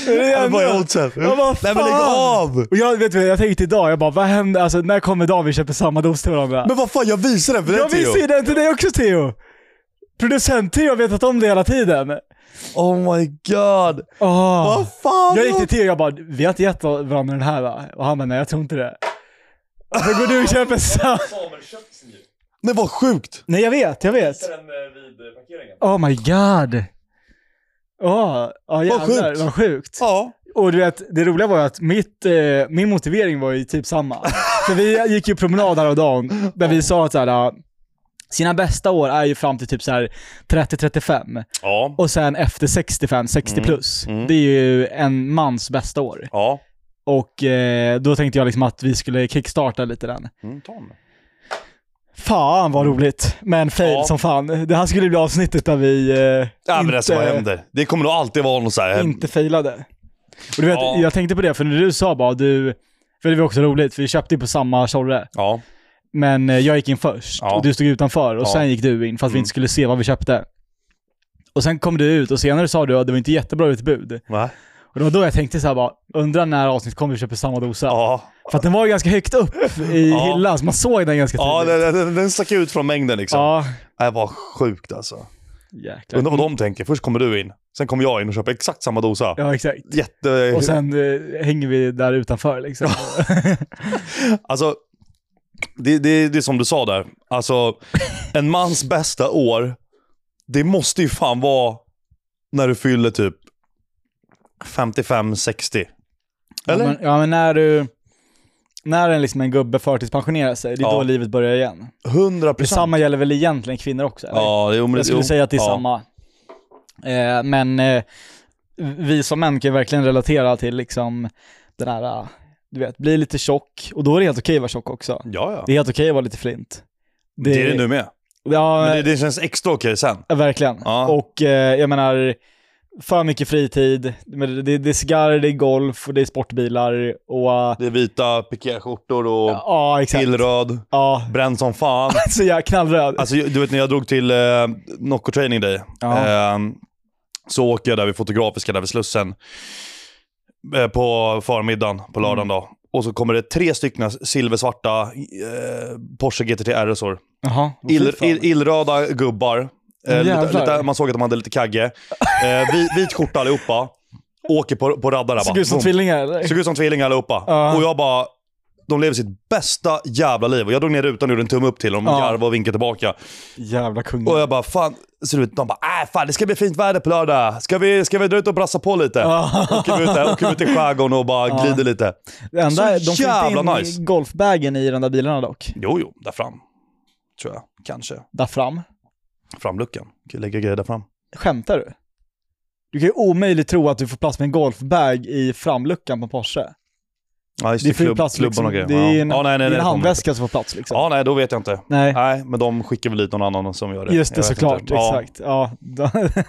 det är
Ja, men Vad är
jävla-
oddsen?
Ja, vad
Nej men lägg
fan.
av!
Och jag, vet du, jag tänkte idag, jag bara vad händer, alltså när kommer dagen vi köper samma dos till varandra?
Men vad fan, jag visar den för dig
jag
Theo.
visste ju den till dig också Theo! Producent-Theo har vetat om det hela tiden.
Oh my god.
Åh.
Vad fan.
Ah. Jag gick till Theo och jag bara, vi har inte gett varandra den här va? Och han bara, nej jag tror inte det. Och så går du och köper samma.
Samuel köpte sin jeep.
Men vad sjukt.
Nej jag vet, jag vet.
Hittade den eh, vid eh, parkeringen.
Oh my god. Åh, ja jävlar
sjukt.
vad sjukt.
Ja.
Och du vet, det roliga var ju att mitt, eh, min motivering var ju typ samma. För vi gick ju promenad här och dagen, där vi sa att så här, ah, sina bästa år är ju fram till typ så här 30-35
Ja.
och sen efter 65-60 plus.
Mm.
Det är ju en mans bästa år.
Ja.
Och eh, då tänkte jag liksom att vi skulle kickstarta lite den.
Mm, ta den.
Fan vad roligt, men fail
Ja.
som fan. Det här skulle bli avsnittet där vi eh,
Ja men alltså vad
inte,
händer? Det kommer nog alltid vara någon så här...
inte failade. Och du vet,
Ja.
jag tänkte på det, för när du sa bara du, för det var också roligt, för vi köpte ju på samma tjorre.
Ja.
Men eh, jag gick in först
Ja.
och du stod utanför och
Ja. Mm.
sen gick du in för att vi inte skulle se vad vi köpte. Och sen kom du ut och senare sa du att det var inte jättebra utbud.
Va?
Och det var då jag tänkte så här bara, undrar när avsnitt kommer vi köper samma dosa.
Ja.
För att den var ju ganska högt upp i
Ja.
hyllan, så man såg den ganska
Ja,
tydligt.
den, den, den stack ut från mängden liksom.
Ja,
Nej, vad sjukt alltså.
jäklar.
Undrar vad de tänker. Först kommer du in, sen kommer jag in och köper exakt samma dosa.
Ja, exakt.
Jätte...
Och sen eh, hänger vi där utanför liksom.
Alltså, det, det, det är som du sa där. Alltså, en mans bästa år, det måste ju fan vara när du fyller typ 55-60. Eller?
Ja, men, ja, men när du... När en, liksom en gubbe förtidspensionerar sig, det är
Ja.
då livet börjar igen.
100 procent.
Detsamma gäller väl egentligen kvinnor också? Eller?
Ja, det är
Jag skulle säga att det är samma. Eh, men eh, vi som män kan ju verkligen relatera till liksom den här, eh, du vet, bli lite tjock. Och då är det helt okej att vara tjock också.
Ja, ja.
Det är helt okej att vara lite flint.
Det, är det nu med.
Ja,
Men det, det känns extra okej sen.
Ja, Verkligen.
Ja.
Och eh, jag menar, för mycket fritid. Men Det, det, det är cigarrer, det är golf och det är sportbilar och... eh,
Det är vita pikéskjortor och
ja, exakt.
illröd.
Ja,
Bränd som fan.
så jag är knallröd.
Alltså du vet när jag drog till eh, Nocco Training Day.
Ja.
Eh, så åker jag där vid Fotografiska, där vid Slussen. Eh, på förmiddagen, på lördagen
Mm.
då. Och så kommer det tre stycken silversvarta eh, Porsche GTT RSor.
Jaha. vad
Ill,
fint fan.
ill, illröda gubbar. Eh,
Åh,
lite,
jävlar.
lite, man såg att de hade lite kagge. Eh, vit, vit skjorta allihopa. Åker på, på raddar där
Såg ut som
Boom.
tvillingar eller?
Såg ut som tvillingar allihopa.
Ja.
Och jag bara, de lever sitt bästa jävla liv. Och jag drog ner rutan och gjorde en tumme upp till dem,
Ja.
garvade och vinkade tillbaka.
Jävla kung.
Och eh, jag bara, fan. Så du vet, de bara, äh, fan det ska bli fint väder på lördag. Ska vi, ska vi dra ut och brassa på lite? Åker vi ut, där, åker vi ut i skärgården och bara glider lite.
Det enda,
så
är- de får inte in
jävla nice.
golfbagen i de där bilarna dock.
Jo, jo, där fram. Tror jag. Kanske.
Där fram.
Framluckan. Kan lägga grejer där fram.
Skämtar du? Du kan ju omöjligt tro att du får plats med en golfbag i framluckan på Porsche.
Ja, just
Det får ju plats
klubban
liksom,
och
det
grejer.
är en,
ja. Ja, nej,
det
nej,
är
nej,
en
det kommer inte.
handväska som får plats liksom.
Ja, nej, då vet jag inte.
Nej.
Nej, men de skickar väl dit någon annan som gör det.
Just det
Jag vet
såklart,
inte. Ja.
exakt. Ja.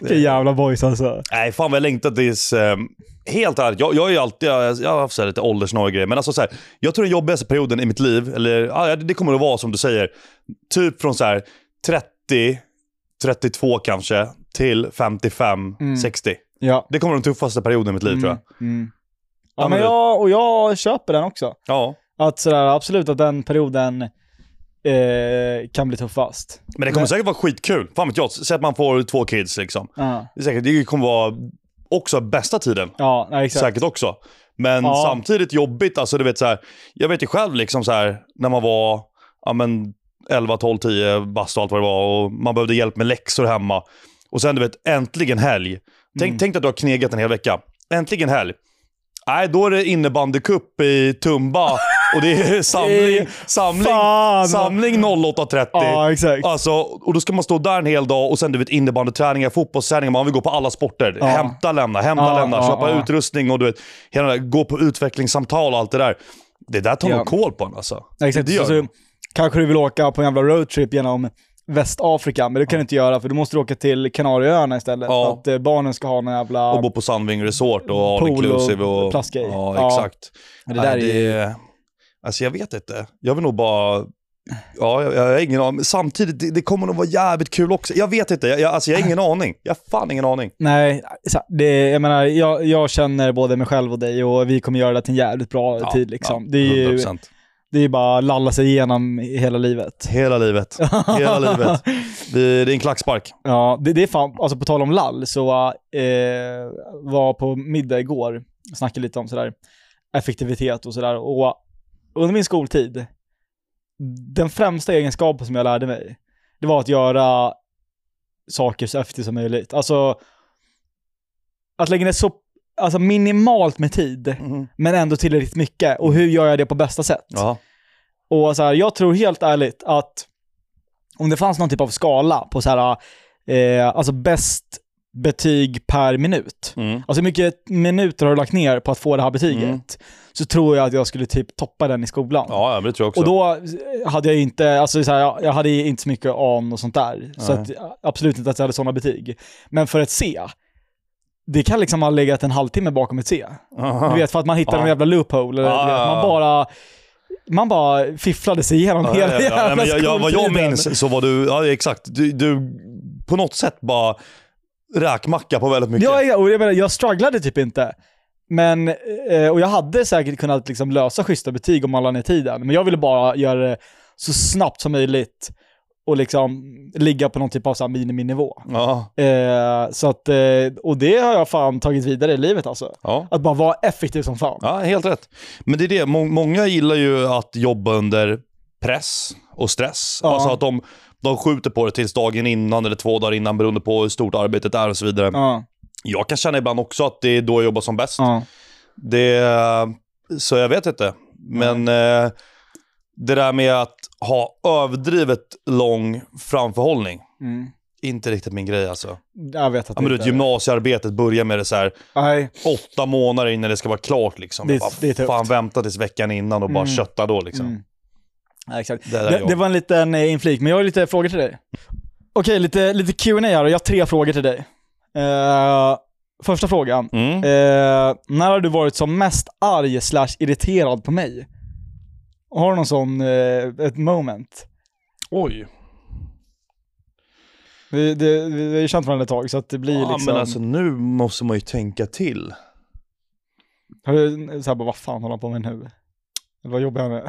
Vilken jävla boys alltså.
Nej, fan vad jag längtat tills... ehm, helt ärligt, jag, jag är ju alltid... Jag, jag har haft så här lite åldersnöje och grejer. Men alltså så här, jag tror den jobbigaste perioden i mitt liv, eller ja, det kommer att vara som du säger, typ från så här 30, 32 kanske, till 55,
Mm.
60.
Ja.
Det kommer den tuffaste perioden i mitt liv tror jag.
Mm. Ja,
Ja, men
men
du-
jag, och jag köper den också.
Ja.
Att sådär, absolut att den perioden eh, kan bli tuffast.
Men det kommer
Men-
säkert vara skitkul. Fan vet jag, säg att man får två kids liksom.
Ja,
Det, är säkert, det kommer vara också bästa tiden.
ja nej, exakt.
Säkert också. Men
Ja.
samtidigt jobbigt. Alltså, du vet, så här, jag vet ju själv liksom så här, när man var ja, men 11, 12, 10 bast och allt vad det var. Och man behövde hjälp med läxor hemma. Och sen du vet, äntligen helg. Tänk,
Mm.
tänk att du har knegat en hel vecka. Äntligen helg. Nej, då är det innebandycup i Tumba och det är samling, samling,
Fan.
samling 08.30.
Ja, exakt.
Alltså, och då ska man stå där en hel dag och sen du vet innebandyträningar, fotbollsträningar, man vill gå på alla sporter. Hämta, lämna, hämta,
Ja,
lämna,
ja,
köpa
ja.
utrustning och du vet, hela det där, gå på utvecklingssamtal och allt det där. Det där tar
Ja.
nog koll på en alltså.
Nej, exakt.
Det gör
Så, så, kanske du vill åka på en jävla roadtrip genom Västafrika, men det kan du inte göra för du måste åka till Kanarieöarna istället.
Ja.
För att eh, barnen ska ha någon jävla...
Och bo på Sandving Resort och all
Pool och
inclusive. Och,
plaska i.
Ja,
Ja.
exakt.
Men det där
Nej, det, Alltså jag vet inte. Jag vill nog bara Ja, jag, jag har ingen aning. Men Samtidigt, det, det kommer nog vara jävligt kul också. Jag vet inte. Jag, jag, alltså, jag har ingen aning. Jag har fan ingen aning.
Nej, så- det, jag menar, jag, jag känner både mig själv och dig och vi kommer göra det till en jävligt bra
Ja,
tid liksom. det, är ju,
100%.
det är ju bara att lalla sig igenom hela livet.
Hela livet. Hela livet. Vi, det är en klackspark.
Ja, det, det är fan, alltså på tal om lall, så eh, var på middag igår, snackade lite om sådär effektivitet och sådär. Och under min skoltid, den främsta egenskapen som jag lärde mig, det var att göra saker så effektivt som möjligt. Alltså, att lägga ner så alltså minimalt med tid, men ändå tillräckligt mycket. Och hur gör jag det på bästa sätt?
Ja.
Och så här, jag tror helt ärligt att om det fanns någon typ av skala på så här, eh, alltså bäst betyg per minut.
Mm.
Alltså hur mycket minuter har du lagt ner på att få det här betyget?
Mm.
Så tror jag att jag skulle typ toppa den i skolan.
ja, ja, men det tror jag också.
Och då hade jag ju inte, alltså så här, jag- jag hade ju inte så mycket an och sånt där. Så
Nej.
att, absolut inte att jag hade sådana betyg. Men för ett C, det kan liksom ha legat en halvtimme bakom ett C. Du vet, för att man hittade
Ja.
någon jävla loophole. Eller,
Ja,
du vet,
ja, ja.
man bara... Man bara fifflade sig igenom
Ja,
hela
ja, ja,
jävla
men jag, jag, Vad jag
skoltiden.
minns så var du, ja exakt, du, du på något sätt bara räkmacka på väldigt mycket.
Ja, ja, och jag menar, jag strugglade typ inte. Men, eh, och jag hade säkert kunnat liksom lösa schyssta betyg om man la ner tiden. Men jag ville bara göra det så snabbt som möjligt och liksom ligga på någon typ av så här miniminivå.
ja,
Eh, så att, eh, och det har jag fan tagit vidare i livet alltså.
ja.
Att bara vara effektiv som fan.
Ja, helt rätt. Men det är det, må- många gillar ju att jobba under press och stress.
Ja.
Alltså att de, de skjuter på det tills dagen innan eller två dagar innan beroende på hur stort arbetet är och så vidare.
Ja,
Jag kan känna ibland också att det är då jag jobbar som bäst.
ja.
Det, så jag vet inte. Men eh, det där med att ha överdrivet lång framförhållning,
Mm.
inte riktigt min grej alltså.
Jag vet att
Ja, men du vet,
inte är det.
gymnasiearbetet börjar med det så här
Nej.
åtta månader innan det ska vara klart. Liksom.
Det är-
jag bara,
det är tufft.
fan vänta tills veckan innan och bara
Mm.
kötta då. Liksom.
Mm. Ja, exakt.
Det, där är
Det,
jag.
det var en liten eh, inflik, men jag har lite frågor till dig. Okej, lite, lite Q&A här och jag har tre frågor till dig. Eh, första frågan.
Mm.
Eh, när har du varit som mest arg slash irriterad på mig? Har du någon sån, eh, ett moment?
Oj.
Vi, det, vi, vi har ju känt varandra ett tag, så att det blir
Ja,
liksom...
men alltså nu måste man ju tänka till.
Har du såhär bara, vad fan håller han på med nu? Eller Vad jobbar jag med?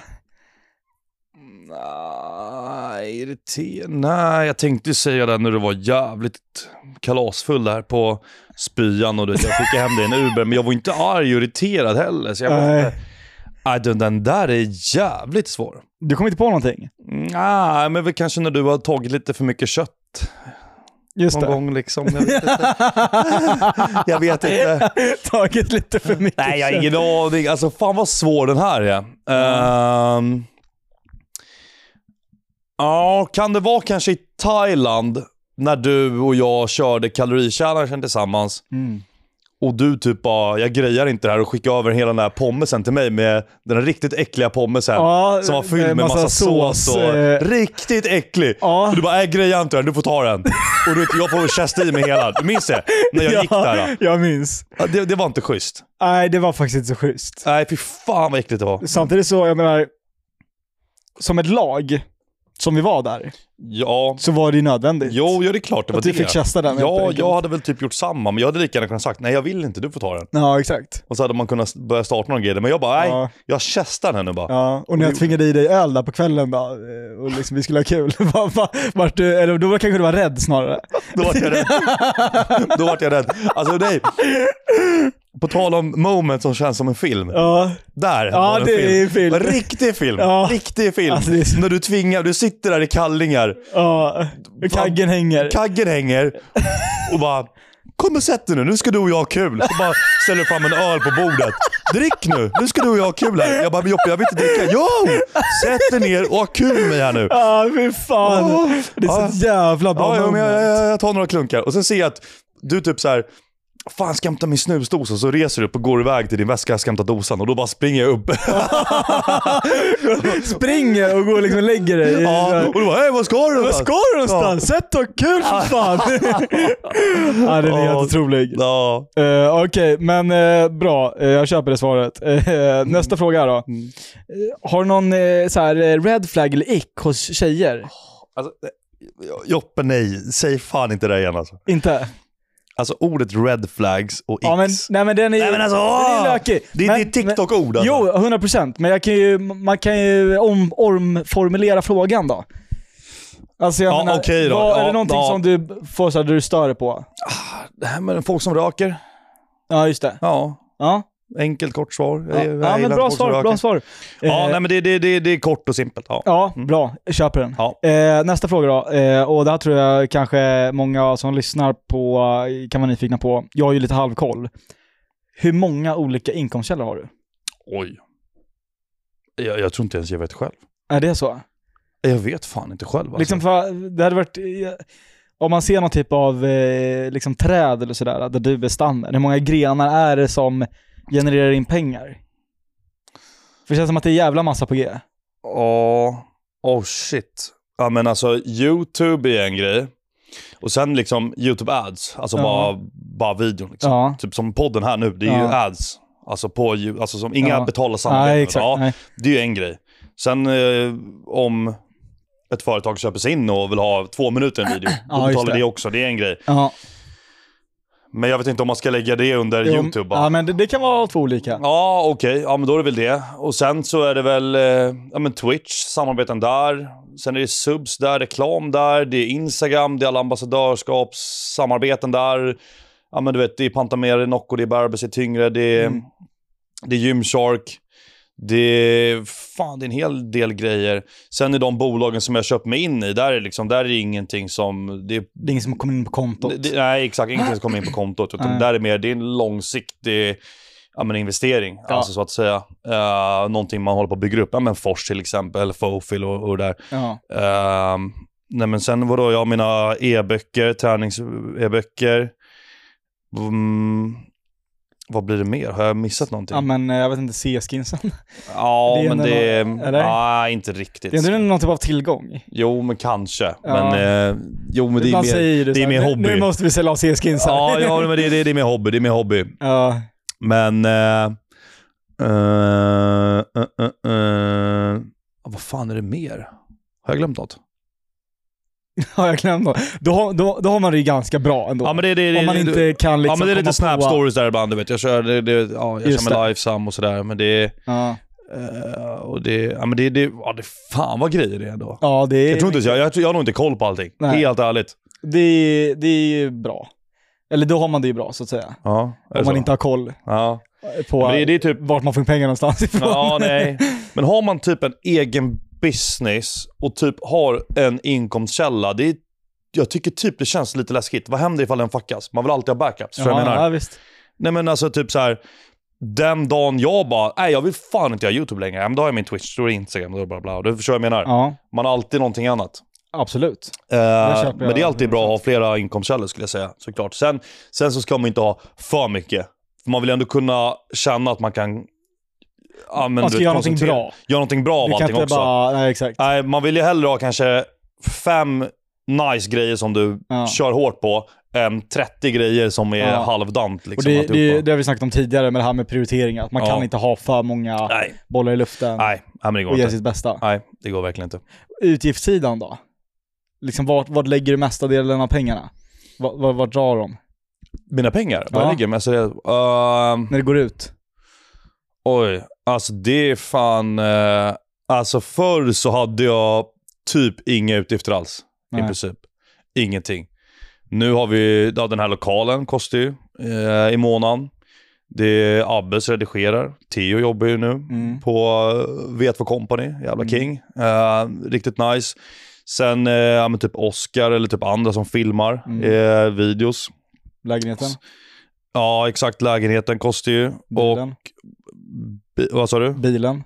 Nej, irriterande. Nej, jag tänkte ju säga det när du var jävligt kalasfull där på spyan och du, vet, jag skickade hem dig i en Uber, men jag var inte arg och irriterad heller. Så jag bara,
Nej.
nej, den, den där är jävligt svår.
Du kom inte på någonting?
Nej, men väl kanske när du har tagit lite för mycket kött
Just
någon
det.
gång liksom. Jag vet inte. jag vet inte.
Tagit lite för mycket
Mm. Nej, jag har
kött.
ingen aning. Alltså fan vad svår den här är. Ehm, Ja, kan det vara kanske i Thailand när du och jag körde kalorikärnan tillsammans
Mm.
och du typ bara, jag grejar inte det här och skickar över hela den här pommesen till mig med den riktigt äckliga pommesen.
Ja,
Som var fylld med massa, sås, och...
eh,
Riktigt äcklig!
Ja.
Och du bara, jag grejar inte det här, du får ta den. Och du, vet, jag får kästa i mig hela. Du minns det? När jag gick där. då.
Jag minns.
Ja, Det, det var inte schysst.
Nej, det var faktiskt inte så schysst.
Nej, fy fan vad äckligt det var.
Samtidigt så, jag menar, som ett lag, som vi var där,
Ja,
så var det ju nödvändigt.
jo, ja, det är klart det var
att du
det.
fick kasta den. helt
Ja,
enkelt.
jag hade väl typ gjort samma, men jag hade lika gärna kunnat sagt nej jag vill inte, du får ta den.
Ja, exakt.
Och så hade man kunnat börja starta någon grej, där, men jag bara nej,
Ja.
jag kästar den nu bara.
Ja, och när jag tvingade i dig öl där på kvällen då, eh, och liksom vi skulle ha kul, var, var, var du, eller då var- kanske du var rädd snarare.
Då vart jag rädd. Då vart jag rädd. Alltså nej. På tal om moment som känns som en film.
Ja,
Där
Ja,
var en
det är en film.
En riktig film.
Ja.
Riktig film.
Alltså, det är så-
När du tvingar, du sitter där i kallingar,
ja. Kaggen hänger.
kaggen hänger och bara Kom och sätt dig nu, nu ska du och jag ha kul. Så bara ställer fram en öl på bordet. Drick nu, nu ska du och jag ha kul här. Jag bara, men Joppe jag vill inte dricka. Jo! Sätt dig ner och ha kul med här nu.
Ja, fy fan.
Åh.
det är
Ja.
så jävla bra
Ja, ja, men
moment.
jag, jag, jag tar några klunkar. Och sen ser jag att du typ så här Fan, ska jag hämta min snusdosa? Så reser du upp och går iväg till din väska och ska hämta dosan. Och då bara springer jag upp.
Springer och går och liksom lägger dig. i-
ja, och du bara, hej vad ska du?
Vad ska du någonstans? Sätt och kul för fan! ja, den är helt
Ja.
otrolig.
Ja.
Eh, Okej, men eh, bra. Eh, jag köper det svaret. Eh, nästa fråga då.
Mm.
Eh, har du någon eh, så här, eh, red flag eller ick hos tjejer?
Alltså, eh, Joppe, nej. Säg fan inte det igen alltså.
Inte?
Alltså ordet red flags och x.
Ja, men, nej men den är
nej men alltså, åh!
den är lökig.
Det,
Men-
det är TikTok-ord alltså.
Jo, 100%. Men jag kan ju, man kan ju om, omformulera frågan då. Alltså jag
Ja,
menar,
okej då.
vad, är det
Ja,
någonting
ja.
som du får så här, du stör dig på?
Det här med folk som röker.
Ja, just det.
Ja.
Ja,
Enkelt kort svar.
ja.
Jag- jag
ja men
gillar
bra
folk som
svar.
röker.
Bra svar.
Ja,
Eh,
nej, men det, det, det, det är kort och simpelt. Ja.
Ja, bra. Jag köper den.
Ja.
Eh, nästa fråga då. Eh, och det här tror jag kanske många som lyssnar på eh, kan vara nyfikna på. Jag har ju lite halvkoll. Hur många olika inkomstkällor har du?
Oj. Jag, jag tror inte ens jag vet själv.
Är det så?
Jag vet fan inte själv. Alltså.
Liksom för, det hade varit... eh, Om man ser någon typ av eh, liksom träd eller sådär, där du är stammen, hur många grenar är det som genererar in pengar? För det känns som att det är jävla massa på G.
Ja. Oh shit. Ja men alltså YouTube är en grej. Och sen liksom YouTube ads. Alltså
Ja.
bara, bara videon liksom.
Ja.
Typ som podden här nu. Det är ju
Ja.
ads. Alltså på ju- alltså som inga
Ja.
betalar
Nej,
samarbete.
exakt. Nej.
det är ju en grej. Sen eh, om ett företag köper sig in och vill ha två minuter i en video.
Ja,
Då
just
betalar
det.
det också. Det är en grej.
Ja.
Men jag vet inte om man ska lägga det under
Jo,
YouTube bara.
Ja, men det, det kan vara två olika.
Ja, okej. Ja, men då är det väl det. Och sen så är det väl eh, ja, men Twitch, samarbeten där. Sen är det subs där, reklam där, det är Instagram, det är alla ambassadörskapssamarbeten där. Ja, men du vet, det är Pantamera, det är Nocco, det är Barbers, det är Tyngre, det är,
Mm.
det är Gymshark. Det är, fan, det är en hel del grejer. Sen är de bolagen som jag köpt mig in i, där är, liksom, där är det ingenting som... Det är
Det är ingen som kommer in på kontot.
det, nej, exakt. Ingenting som kommer in på kontot. Utan
Nej.
där är mer, det är en långsiktig ja, men investering,
Ja.
alltså, så att säga. Uh, någonting man håller på att bygga upp. Ja, men Fors till exempel, eller Fofil och, och det där.
Ja.
Ehm, nej, men sen vadå, jag har mina e-böcker, tränings-e-böcker. Mm, vad blir det mer? Har jag missat någonting?
ja, men eh, jag vet inte, C-skinsen.
ja,
det är
men
ändå
det är...
nå- eller?
Nej, inte riktigt.
Det är ändå någon typ av tillgång.
Jo, men kanske.
Ja.
Men, eh, jo, men det är
Ibland
mer...
säger du
det är
så
mer
här,
hobby."
Nu, nu måste vi sälja av C-skinsen.
Ja, ja, men det, det, det är mer hobby. Det är mer hobby.
ja.
Men... Eh, eh, eh, eh, eh, vad fan är det mer? Har jag glömt något?
Har jag glömt något? Då, har- då, då har man det ju ganska bra ändå.
Ja, men det, det, det,
Om man
det,
inte kan
ja,
liksom
men det är lite
komma
snap
på-
stories där ibland. Du vet. Jag kör, det, det, ja, jag
Just
kör
det.
med Lifesum och sådär. Men det...
Ja,
eh, och det, ja, men det, det, ja, det fan vad grejer det är ändå.
ja det, är,
Jag tror inte, ens- jag, jag, tror- jag har nog inte koll på allting.
Nej.
Helt ärligt.
det, är, det är ju bra. Eller då har man det ju bra så att säga.
Ja, är det
Om man
så?
inte har koll
Ja.
på
Men det, det är typ
vart man får pengar någonstans ifrån.
Ja, nej. Men har man typ en egen business och typ har en inkomstkälla, det är, jag tycker typ det känns lite läskigt. Vad händer ifall den fuckas? Man vill alltid ha backups. För jag
Ja,
menar,
ja, visst.
nej men alltså typ så här. Den dagen jag bara, nej jag vill fan inte göra YouTube längre. Ja, men då har jag min Twitch, då är det Instagram, då är det bla bla. Du förstår vad jag menar.
Ja,
Man har alltid någonting annat.
absolut.
Eh,
köper
men
jag.
det är alltid bra att ha flera inkomstkällor skulle jag säga. Såklart. Sen, sen så ska man inte ha för mycket. För man vill ändå kunna känna att man kan... Ja, men
Man ska
du vet,
göra någonting
koncentrera-
bra.
göra någonting bra av
Du kan
allting
inte
också.
bara... Nej, exakt.
Nej, man vill ju hellre ha kanske fem nice grejer som du
Ja.
kör hårt på, än 30 grejer som är
Ja.
halvdant.
Och
Liksom,
det, det,
alltihopa.
det har vi snackat om tidigare med det här med prioriteringar. Att man
Ja.
kan inte ha för många
Nej,
bollar i luften
nej, nej, men det går
och ge
inte.
sitt bästa.
Nej, det går verkligen inte.
Utgiftssidan då? Liksom vart, vart lägger du mesta delen av pengarna? Vart, vart, vart drar de?
Mina pengar, vad
Ja.
jag ligger med? Alltså, det, ehm,
När det går ut?
oj, alltså det är fan... eh, alltså förr så hade jag typ inga utgifter alls. i
Nej.
princip. Ingenting. Nu har vi, ja, den här lokalen kostar ju eh, i månaden. Det är Abbes redigerar. Theo jobbar ju nu
Mm.
på eh, V2 Company, jävla
Mm.
king. Eh, riktigt nice. Sen eh, ja, men typ Oscar eller typ andra som filmar
Mm.
eh, videos.
Lägenheten?
Ja, exakt. Lägenheten kostar ju. Och,
Bilen?
bi- vad sa du?
Bilen?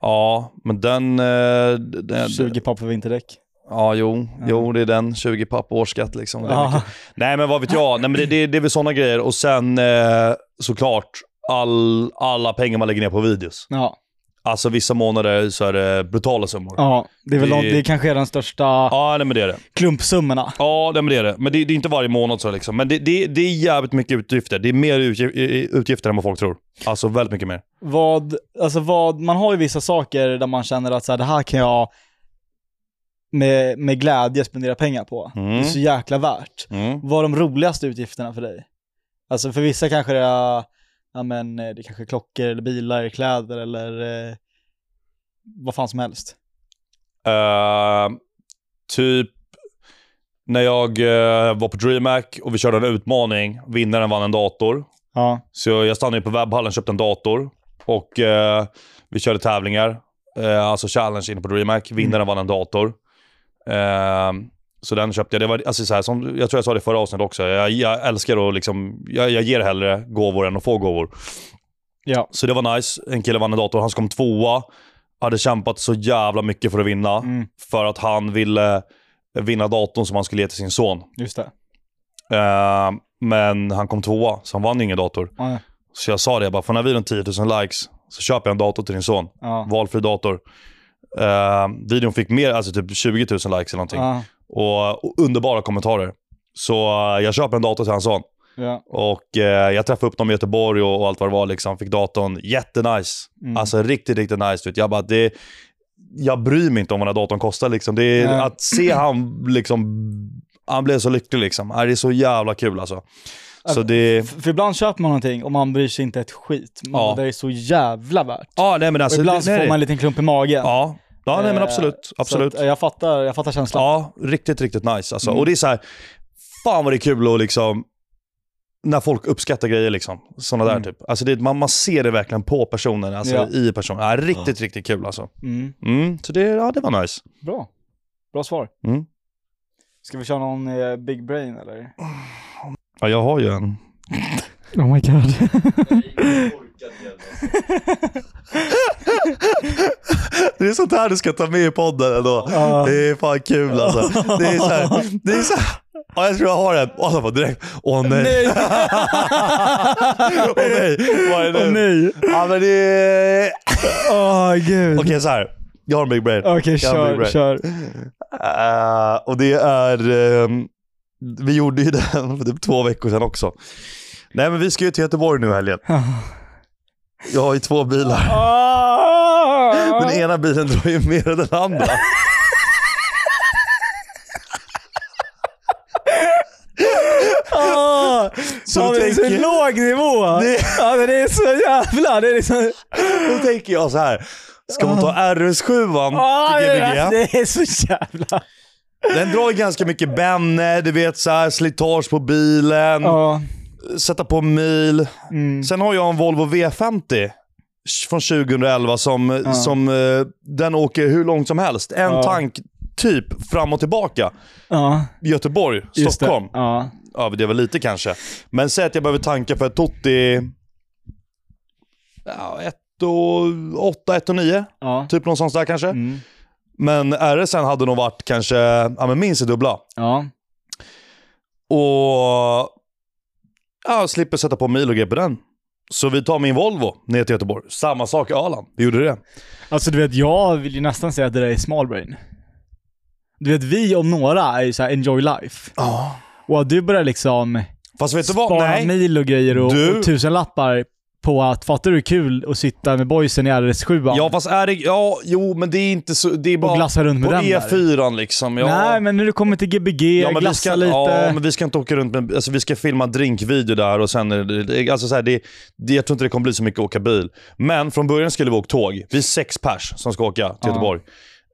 Ja, men den... Eh, den
20 papp för vinterdäck?
Ja, jo, jo, det är den. 20 papp årsskatt liksom. Det är mycket.
Ja.
Nej, men vad vet jag. Nej, men det, det, det är väl sådana grejer. Och sen eh, såklart all, alla pengar man lägger ner på videos.
Ja.
Alltså vissa månader så är det brutala summor. Ja,
ja, det är väl
Det-
det... det kanske är den största
nej, men det är det.
klumpsummorna.
Ja, nej, men det är det. Men det, det är inte varje månad så liksom. Men det, det, det är jävligt mycket utgifter. Det är mer utgi- i- utgifter än vad folk tror. Alltså väldigt mycket mer.
Vad, alltså vad, man har ju vissa saker där man känner att så här, det här kan jag med, med glädje spendera pengar på. Det är
Mm.
så jäkla värt.
Mm.
Vad är de roligaste utgifterna för dig? Alltså för vissa kanske det är, ja men eh, det kanske är klockor eller bilar, kläder eller eh, vad fan som helst.
Eh, typ när jag eh, var på DreamHack och vi körde en utmaning. Vinnaren vann en dator.
Ja.
Så jag, jag stannade ju på webbhallen, köpte en dator och eh, vi körde tävlingar. Eh, alltså challenge inne på DreamHack. Vinnaren vann en dator. Eh, så den köpte jag. Det var, alltså, så här, som, jag tror jag sa det i förra avsnittet också. Jag, jag älskar att liksom, jag, jag ger hellre gåvor än att få gåvor.
Ja.
Så det var nice. En kille vann en dator. Han som kom tvåa. Hade kämpat så jävla mycket för att vinna.
Mm.
För att han ville vinna datorn som han skulle ge till sin son.
Just det.
Eh, men han kom tvåa, så han vann ingen dator.
Ja.
Så jag sa det, jag bara, får den här videon 10 000 likes så köper jag en dator till din son.
Ja.
Valfri dator. Eh, videon fick mer, alltså typ 20 000 likes eller någonting.
Ja.
Och, och underbara kommentarer. Så eh, jag köper en dator till hans son.
Ja.
Och eh, jag träffade upp dem i Göteborg och, och allt vad det var. Liksom. Fick datorn jättenice.
Mm.
Alltså riktigt, riktigt nice. Vet. Jag bara, det, jag bryr mig inte om vad den här datorn kostar. Liksom. Det är,
Nej.
att se han liksom, han blev så lycklig liksom. Äh, Det är så jävla kul alltså. Så det,
F- För ibland köper man någonting och man bryr sig inte ett skit. Man
Ja.
bara, det är så jävla värt.
ja, nej men
Och
alltså.
ibland
det,
så
nej,
får
det-
man en liten klump i magen.
Ja, ja nej, men
Eh,
absolut. absolut.
Så att, eh, jag, fattar, jag fattar känslan.
Ja, riktigt, riktigt nice. Alltså.
Mm.
Och det är så här, fan vad det är kul att liksom, när folk uppskattar grejer. Liksom. Sådana där
Mm.
typ. Alltså det, man, man ser det verkligen på personen, alltså,
Ja.
i personen. Ja, riktigt, riktigt kul alltså.
Mm.
Mm, så det, ja, det var nice.
Bra. Bra svar.
Mm.
Ska vi köra någon eh, big brain eller?
Ja, jag har ju en.
Oh my god.
Nej, orkad jävla.
Det är sånt här du ska ta med i podden ändå.
Ja.
Det är fan kul alltså. Det är så här, det är så här. Ja, jag tror jag har en. Och alla bara direkt, åh nej.
Nej!
Åh nej, vad är
Åh
det?
nej!
Ja men det är...
Åh gud. Okej,
Okej så här. jag har en big brain. Jag har en big
kör,
brain.
kör.
Eh, och det är... ehm, vi gjorde ju den för typ två veckor sedan också. Nej men vi ska ju till Göteborg nu i helgen. Jag har ju två bilar.
Ah.
Den ena bilen drar ju mer än den andra.
Ah,
Så
fan,
du
det är så
tänker-
låg nivå!
Det-
Ja, men det är så jävla... Det är liksom...
Då tänker jag så här. Ska hon ta RS7an
Ah,
till
det,
Gbg?
det är så jävla...
Den drar ju ganska mycket benne, du vet så här, slitage på bilen,
Ja.
sätta på mil.
Mm.
Sen har jag en Volvo V50 från 2011 som, som eh, den åker hur långt som helst. En
Ja.
tank typ fram och tillbaka.
Ja,
Göteborg,
just det.
Stockholm.
Ja.
Ja, det var lite kanske. Men säg att jag behöver tanka för ett Totti... Ja, ett och åtta, ett och nio.
Ja.
Typ någonstans där kanske.
Mm.
Men RSN hade nog varit kanske ja, men minst det dubbla.
Ja.
Och ja, slipper sätta på mil och grejer på den. Så vi tar min Volvo ner till Göteborg. Samma sak i Öland. Vi gjorde det.
Alltså du vet, jag vill ju nästan säga att det där är small brain. Du vet, vi om några är ju såhär enjoy life.
Ja.
Och att du börjar liksom
Fast vet du vad?
spara
Nej.
mil och grejer och,
Du-
och tusenlappar på att fattar du hur kul att sitta med boysen i RS7
Ja, fast är det... Ja, jo, men det är inte så... Det är bara...
och glassa runt med
på
den där.
E4 liksom. Ja.
Nej, men när du kommer till Gbg,
Ja men, vi
glassa
ska,
lite.
ja, men vi ska inte åka runt med... Alltså vi ska filma en drinkvideo där och sen... är det- det- Alltså så här, det, det, jag tror inte det kommer bli så mycket att åka bil. Men från början skulle vi åka tåg. Vi är sex pers som ska åka till
Ja.
Göteborg.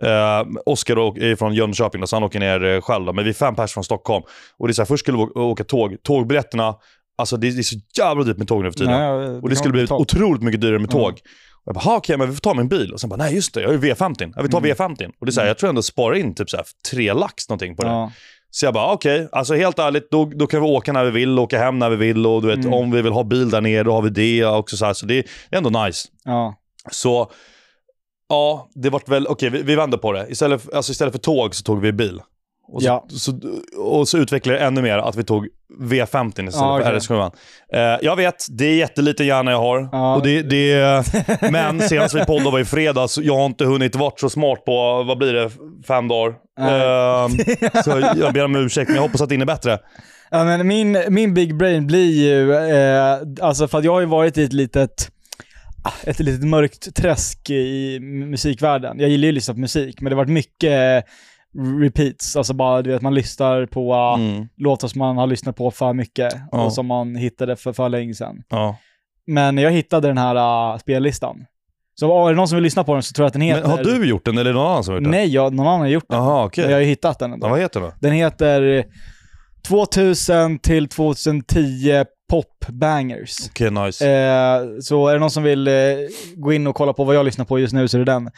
Uh, Oskar å- är från Jönköping, då, så han åker ner eh, själv. Då. Men vi är fem pers från Stockholm. Och det är så här, först skulle vi åka, åka tåg. Tågbiljetterna, alltså det, det är så jävla dyrt med tåg nu för tiden.
Nej,
Och det skulle
kan
blivit
ta-
otroligt mycket dyrare med
Ja.
tåg. Och jag bara, "Ha, okej, men vi får ta min bil. Och sen bara, nej just det, jag har ju V50. Ja, vi tar
Mm.
V50. Och det är så här, jag tror ändå sparar in typ så här, tre lax någonting på det.
Ja.
Så jag bara, okej, alltså helt ärligt, då, då kan vi åka när vi vill, åka hem när vi vill och du vet,
Mm.
om vi vill ha bil där nere, då har vi det också. Så, här, så det är ändå nice.
ja.
Så Ja, det vart väl... Okej, vi, vi vänder på det. Istället för, alltså istället för tåg så tog vi bil. Och så,
Ja.
så, och så utvecklade jag ännu mer att vi tog V50 istället
Ja,
för
okej.
RS7. Eh, jag vet, det är jätteliten hjärna jag har.
Ja.
Och det, det, men senast vi poddade var i fredags. Jag har inte hunnit vara så smart på, vad blir det, fem dagar.
Nej.
Eh, så jag ber om ursäkt, men jag hoppas att det är bättre.
Ja, men min, min big brain blir ju, eh, alltså för att jag har ju varit i ett litet, ah, ett litet mörkt träsk i m- musikvärlden. Jag gillar ju att lyssna på musik, men det har varit mycket eh, repeats. Alltså bara du vet, man lyssnar på ah,
Mm.
låtar som man har lyssnat på för mycket
Ja.
och som man hittade för, för länge sedan.
Ja.
Men jag hittade den här ah, spellistan. Så ah, är det någon som vill lyssna på den så tror jag att den heter...
Men har du gjort den eller är det någon annan som har gjort den?
Nej, jag, någon annan har gjort den.
Jaha, okej.
Men jag har ju hittat den ändå.
Ja, vad heter den?
Den heter 2000 till 2010 Popbangers.
Okej, nice.
Eh, så är det någon som vill eh, gå in och kolla på vad jag lyssnar på just nu så är det den.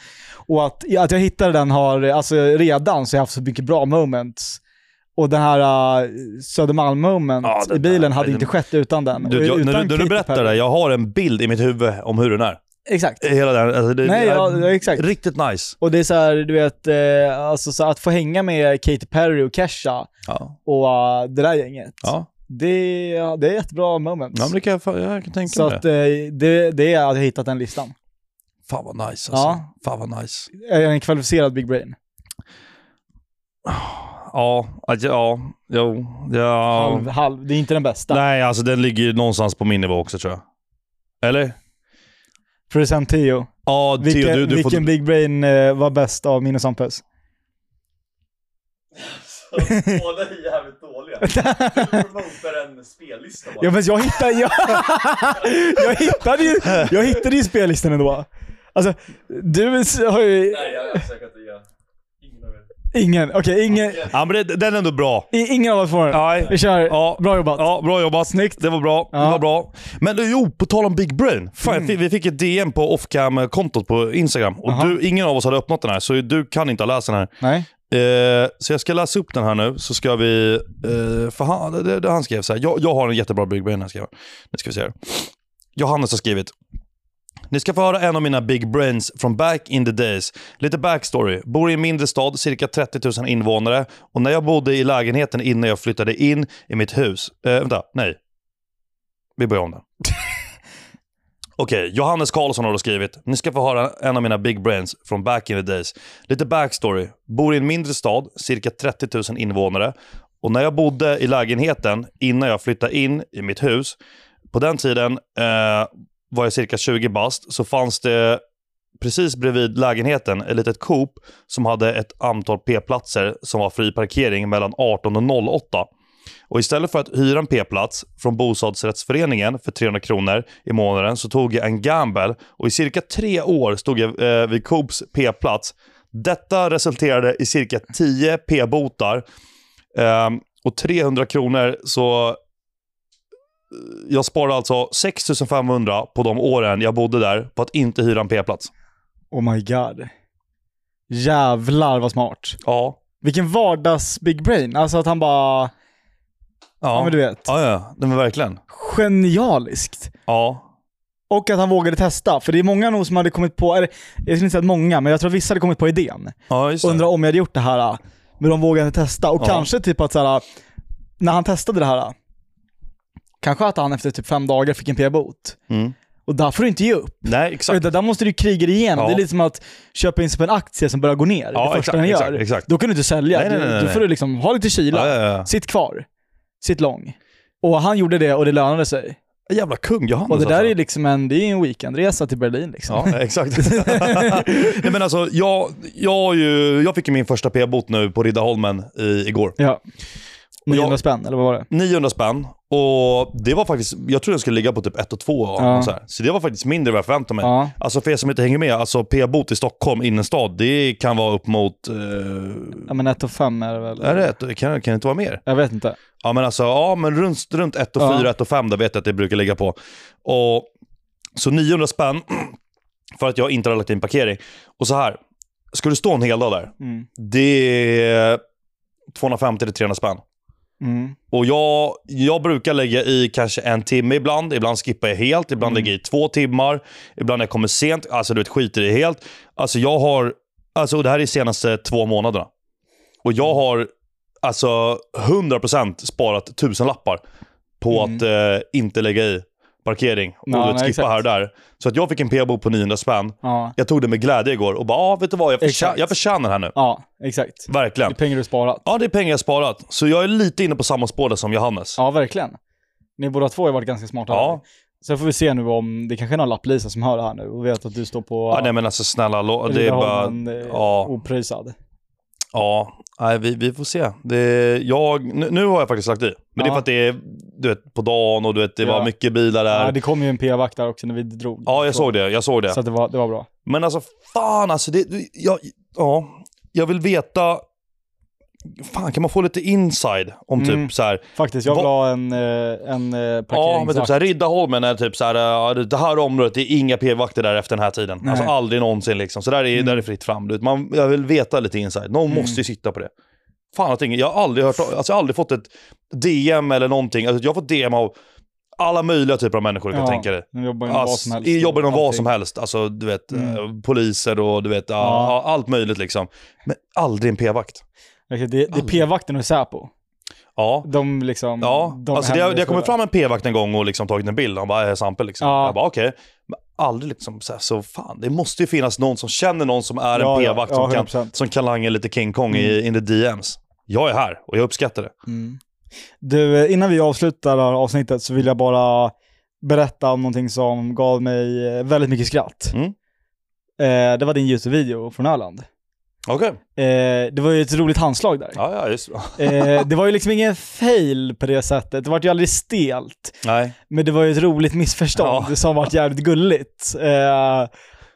Och att, att jag hittade den har, eh, alltså redan så har jag haft så mycket bra moments. Och den här eh, Södermalm-moment
Ja, den
i bilen
där-
hade
den-
inte skett utan den.
Du,
Och
jag,
utan
när, du, när du
Katy
berättar
Perry.
det, jag har en bild i mitt huvud om hur den är.
Exakt.
Hela den, alltså det,
Nej,
det är
ja, ja, exakt.
Riktigt nice.
Och det är så här, du vet, eh, alltså så att få hänga med Katy Perry och Kesha
Ja.
och eh, det där gänget.
Ja.
Det, ja, det är ett bra moment.
ja, men det kan jag, fa- jag kan tänka
Så
mig.
att eh, det, det är att jag hittat den listan.
Fan vad nice alltså.
Ja.
Fan vad nice.
Är jag en kvalificerad big brain?
Ja, att, jag- ja, jo, ja.
Halv, halv. Det är inte den bästa.
Nej, alltså den ligger ju någonstans på min nivå också tror jag. Eller?
Producent Theo.
Ja,
Vilken,
Theo, du, du
vilken
får...
big brain eh, var bäst av min och Sampes?
Så Båda är jävligt dåliga. Du promotar en spellista bara.
Ja men jag hittade, jag, jag hittade ju, jag hittade ju spellistan ändå. Alltså, du s- har ju
Nej, jag har säkert inte. Ingen av er.
ingen, okej ingen,
Ja, men det, den är ändå bra.
i- ingen av oss får den. Vi
Nej.
kör,
Ja.
bra jobbat.
Ja, bra jobbat. Snyggt. Det var bra.
Ja. Mm.
Det var bra. Men du, jo, på tal om Big Brain. Fan, jag fick, vi fick ett DM på Offcam-kontot på Instagram. Och
Aha.
du, ingen av oss hade öppnat den här, så du kan inte ha läst den här.
Nej.
Eh, så jag ska läsa upp den här nu, så ska vi... Eh, för han, det, det, han skrev så här. Jag, jag har en jättebra Big Brain här, skrev han. Nu ska vi se här. Johannes har skrivit. Ni ska få höra en av mina big brains från back in the days. Lite backstory. Bor i en mindre stad, cirka 30 000 invånare. Och när jag bodde i lägenheten innan jag flyttade in i mitt hus... Eh, vänta, nej. Vi börjar om där. Okej, Johannes Karlsson har då skrivit. Ni ska få höra en av mina big brains från back in the days. Lite backstory. Bor i en mindre stad, cirka 30 000 invånare. Och när jag bodde i lägenheten innan jag flyttade in i mitt hus, på den tiden eh, var jag cirka 20 bast, så fanns det precis bredvid lägenheten ett litet Coop som hade ett antal p-platser som var fri parkering mellan 18 och 08. Och istället för att hyra en p-plats från bostadsrättsföreningen för 300 kronor i månaden så tog jag en gamble och i cirka tre år stod jag eh, vid Coops p-plats. Detta resulterade i cirka 10 p-botar ehm, och 300 kronor så eh, jag sparade alltså 6500 på de åren jag bodde där på att inte hyra en p-plats.
Oh my god. Jävlar vad smart.
Ja.
Vilken vardags big brain. Alltså att han bara, ja, ja men du vet.
Ja, ja. Nej, men verkligen.
Genialiskt.
Ja.
Och att han vågade testa, för det är många nog som hade kommit på, eller jag skulle inte säga att många, men jag tror att vissa hade kommit på idén.
Ja, just det.
Undrar om jag hade gjort det här, äh, men de vågade inte testa. Och
Ja.
kanske typ att såhär, när han testade det här, äh, kanske att han efter typ fem dagar fick en p-bot.
Mm.
Och där får du inte ge upp.
Nej, exakt.
Utan där måste du kriga dig igenom.
Ja.
Det är lite som att köpa in sig på en aktie som börjar gå ner.
Ja,
det första
exakt,
den gör.
exakt, exakt.
Då kan du inte sälja.
Nej, nej, nej,
Du-
nej,
Då får du liksom ha lite kyla.
Ja, ja, ja.
Sitt kvar. Sitt lång. Och han gjorde det och det lönade sig.
Jävla kung Johannes
Och det där
alltså.
är liksom en, det är en weekendresa till Berlin liksom.
Ja, exakt. Nej, men alltså, jag, jag, har ju, jag fick ju min första p-bot nu på Riddarholmen i, igår.
Ja.
jag-
900 spänn, eller vad var det?
900 spänn. Och det var faktiskt, jag tror den skulle ligga på typ 1 och 2
Ja.
så, här. så det var faktiskt mindre än vad jag förväntade mig.
Ja.
Alltså för er som inte hänger med, alltså p-bot i Stockholm innerstad, det kan vara upp mot... Eh,
ja men 1 och 5 är det väl?
är det, ett- kan, kan det inte vara mer?
Jag vet inte.
Ja men alltså, ja men runt, runt 1 och
Ja.
4, 1 och 5 där vet jag att det brukar ligga på. Och, så 900 spänn för att jag inte har lagt in parkering. Och så här, skulle du stå en hel dag där,
Mm.
det är 250-300 spänn.
Mm.
Och jag, jag brukar lägga i kanske en timme ibland. Ibland skippar jag helt. Ibland
Mm.
lägger jag i två timmar. Ibland när jag kommer sent. Alltså du vet, skiter i helt. Alltså jag har... Alltså och det här är de senaste två månaderna. Och jag
Mm.
har alltså 100% sparat tusenlappar på
Mm.
att eh, inte lägga i parkering och du
Ja,
vet,
nej,
skippa
exakt.
här och där. Så att jag fick en p-bok på 900 spänn.
Ja.
Jag tog det med glädje igår och bara, ja ah, vet du vad, jag, förtjä-
Exakt.
jag förtjänar det här nu.
ja, exakt. Det
Verkligen.
är pengar du sparat.
Ja, det är pengar jag sparat. Så jag är lite inne på samma spår där som Johannes.
Ja, verkligen. Ni båda två har varit ganska smarta.
Ja.
Sen får vi se nu om, det kanske är någon lapplisa som hör det här nu och vet att du står på
Ja, nej men alltså snälla, lo- det är bara...
Riddarholmen, eh,
Ja,
opröjsad.
ja. Nej, vi, vi får se. Det är, jag, nu, nu har jag faktiskt lagt i. Men det är
Ja.
för att det är du vet, på dagen och du vet, det var
Ja.
mycket bilar
Ja,
där.
det kom ju en p-vakt där också när vi drog.
Ja, jag såg det. Jag såg det.
Så att det var, det var bra.
Men alltså fan alltså. Det, det- jag, ja, jag vill veta... Fan, kan man få lite inside om
Mm.
typ så här...
Faktiskt, jag vill
Va-
ha en, eh, en eh,
Ja, men typ
parkeringsvakt.
såhär, Riddarholmen är typ såhär, ja, det- det här området, det är inga p-vakter där efter den här tiden.
Nej. Mm.
Alltså aldrig någonsin liksom. Så där är, där är fritt fram. Du vet, Man, jag vill veta lite inside. Någon måste ju sitta på det. Fan att ingen, jag har aldrig hört, alltså jag har aldrig fått ett DM eller någonting. Alltså, jag har fått DM av alla möjliga typer av människor du kan
Ja,
tänka dig.
De jobbar inom vad
Ass,
som helst.
I jobben om vad
Allting.
som helst. Alltså du vet,
Mm.
eh, poliser och du vet, ja,
Ja.
ja, allt möjligt liksom. Men aldrig en p-vakt.
Okej, Det, det är p-vakten och Säpo.
Ja.
De liksom...
Ja,
de
alltså det har, det har
händer-
kommit fram en p-vakt en gång och liksom tagit en bild. Han bara, är Sampe liksom.
Ja.
Jag bara, okej. Men aldrig liksom så, här, så fan, det måste ju finnas någon som känner någon som är
Ja,
en
ja,
p-vakt
ja, Mm.
som, kan,
100%.
som kan langa lite King Kong i in the DMs. Jag är här och jag uppskattar det.
Mm. Du, eh, innan vi avslutar det här avsnittet så vill jag bara berätta om någonting som gav mig eh, väldigt mycket skratt.
Mm.
Eh, det var din YouTube-video från Öland.
Okej,
Eh, det var ju ett roligt handslag där.
ja, ja just
Eh, det var ju liksom ingen fail på det sättet. Det var ju aldrig stelt.
Nej,
Men det var ju ett roligt missförstånd
Ja.
som vart jävligt gulligt. Eh,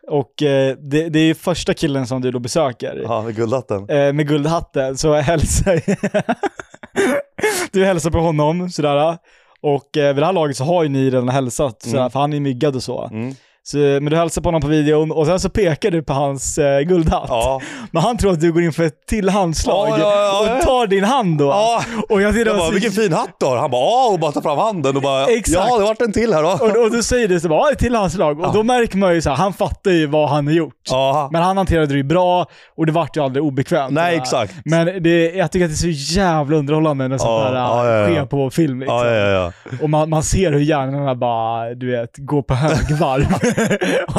och eh, det, det är ju första killen som du då besöker
ja, med guldhatten.
eh, med guldhatten så hälsar du hälsar på honom sådär. Och eh, vid det här laget så har ju ni redan hälsat, sådär, för han är myggad och så.
Mm.
så. Men du hälsar på honom på videon och sen så pekar du på hans eh, guldhatt.
Ja.
Men han tror att du går in för ett till handslag
Ja, ja, ja, ja.
och tar din hand då.
Ja.
Och jag tyckte
Jag
det var
bara,
så
vilken fin hatt du har. Han bara, ja, och bara tar fram handen och bara,
Exakt.
ja, det vart en till här då.
och, och du säger det så bara, "Ja, till hans lag. Och då märker man ju så här, han fattar ju vad han har gjort.
Ja,
Men han hanterade det ju bra och det vart ju aldrig obekvämt.
Nej,
Det där.
exakt.
Men det, jag tycker att det är så jävla underhållande när sånt
Ja,
här äh,
ja, ja, ja.
sker på film. Liksom.
ja, ja, ja.
Och man, man ser hur hjärnorna bara, du vet, går på högvarv.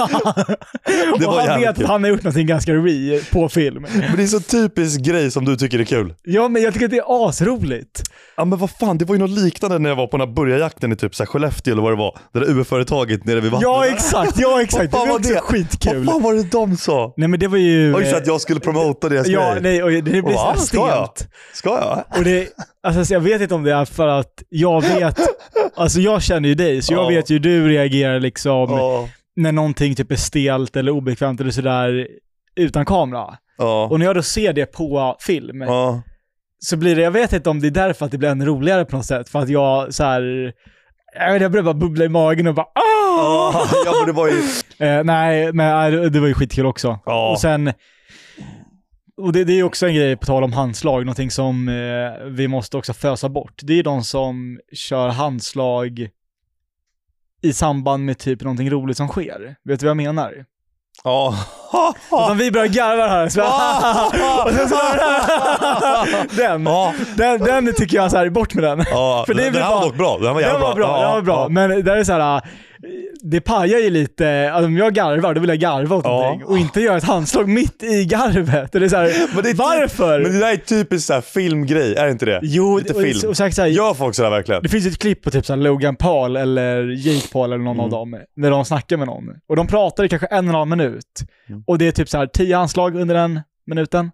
Det
och
var
han
jävligt
vet
kul.
att han har gjort någonting ganska re på film.
Men det är så typisk grej som du tycker är kul.
Ja, men jag tycker att det är asroligt.
Ja men vad fan, det var ju något liknande när jag var på den här burgarjakten i typ så här Skellefteå eller vad det var. Det där UF-företaget nere vid vattnet.
Ja, exakt. Ja, exakt. Det
Vad fan
var
var
också
det?
skitkul.
Vad fan var det de sa?
Nej, men det var ju...
Ja just det,
eh,
att jag skulle promota deras
Ja,
grej.
nej, och det blir
Och
så
bara,
här
ska jag?
stelt.
Ska jag?
Och det, alltså, så jag vet inte om det är för att jag vet, alltså jag känner ju dig, så jag
Ja.
vet ju hur du reagerar liksom
Ja.
när någonting typ är stelt eller obekvämt eller sådär utan kamera.
Ja.
Och när jag då ser det på film
Ja.
så blir det, jag vet inte om det är därför att det blir ännu roligare på något sätt, för att jag så här. Jag, vet, jag börjar bara bubbla i magen och bara ah!
Ja, ja, men det var ju...
Eh, nej, men nej, det- det var ju skitkul också.
Ja.
Och sen... Och det, det är ju också en grej, på tal om handslag, någonting som eh, vi måste också fösa bort. Det är ju de som kör handslag i samband med typ någonting roligt som sker. Vet du vad jag menar?
Ja.
Utan vi börjar garva här. Så och sen så den,
Ja.
den, den tycker jag så här, bort med den.
Ja.
För det
den
blir
här
bara-
var dock bra. Den var
Det
jävla
var bra,
Ja,
det var bra.
ja.
Men där är så här, äh, det pajar ju lite, alltså, om jag garvar då vill jag garva åt
Ja.
någonting och inte göra ett handslag mitt i garvet. Och det är så här,
Men det är typ-
varför?
Men det där är typiskt så här filmgrej, är det inte det?
jo,
lite
och,
film.
och sagt så här,
Gör folk sådär verkligen?
det finns ju ett klipp på typ så här Logan Paul eller Jake Paul eller någon av
Mm.
dem, när de snackar med någon. Och de pratar i kanske en och en halv minut.
Mm.
Och det är typ så här tio handslag under den minuten.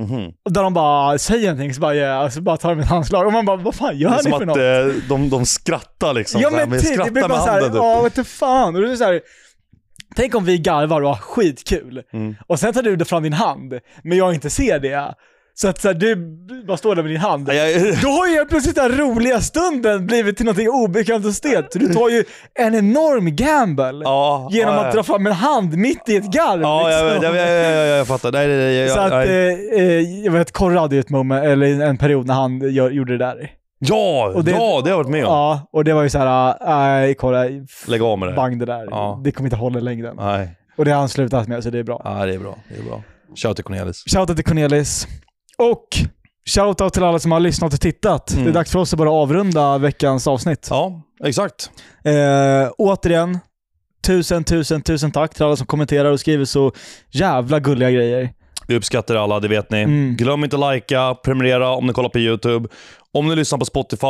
Mhm.
Och där de bara säger någonting, så bara, yeah, alltså, bara tar de ett handslag. Och man bara, vad fan gör
Det är
ni
som
för något?
att eh, de, de skrattar liksom.
Ja
så här,
men typ, det
skrattar
blir
med
bara såhär,
handen, typ.
ja vete fan. Och det är så här, tänk om vi garvar och har skitkul.
Mm.
Och sen tar du fram din hand, men jag inte ser det. Så att så här, du bara står där med din hand.
Ja, jag-
Då har ju helt plötsligt den här roliga stunden blivit till någonting obekvämt och stelt. Så du tar ju en enorm gamble
Ja,
genom
ja,
att
ja.
dra fram en hand mitt i ett garv.
Ja, jag,
liksom.
jag, jag, jag, jag, jag fattar. Nej, nej, nej, jag,
Så att,
nej.
eh, eh, jag vet, Korre hade ju ett moment, eller en period när han gör, gjorde det där.
Ja,
Och det-
ja, det har jag varit med om.
Ja, och det var ju så här, äh, nej kolla, f-
Lägg av med det.
bang det där.
Ja.
Det kommer inte hålla i längden.
Nej,
Och det har han slutat med, så det är bra.
ja, det är bra. Det är bra. Shout till Cornelis.
Shoutout till Cornelis. Och shoutout till alla som har lyssnat och tittat.
Mm.
Det är dags för oss att bara avrunda veckans avsnitt.
Ja, exakt.
Eh, återigen, tusen, tusen, tusen tack till alla som kommenterar och skriver så jävla gulliga grejer.
Vi uppskattar alla, det vet ni.
Mm.
Glöm inte att likea, prenumerera om ni kollar på YouTube. Om ni lyssnar på Spotify,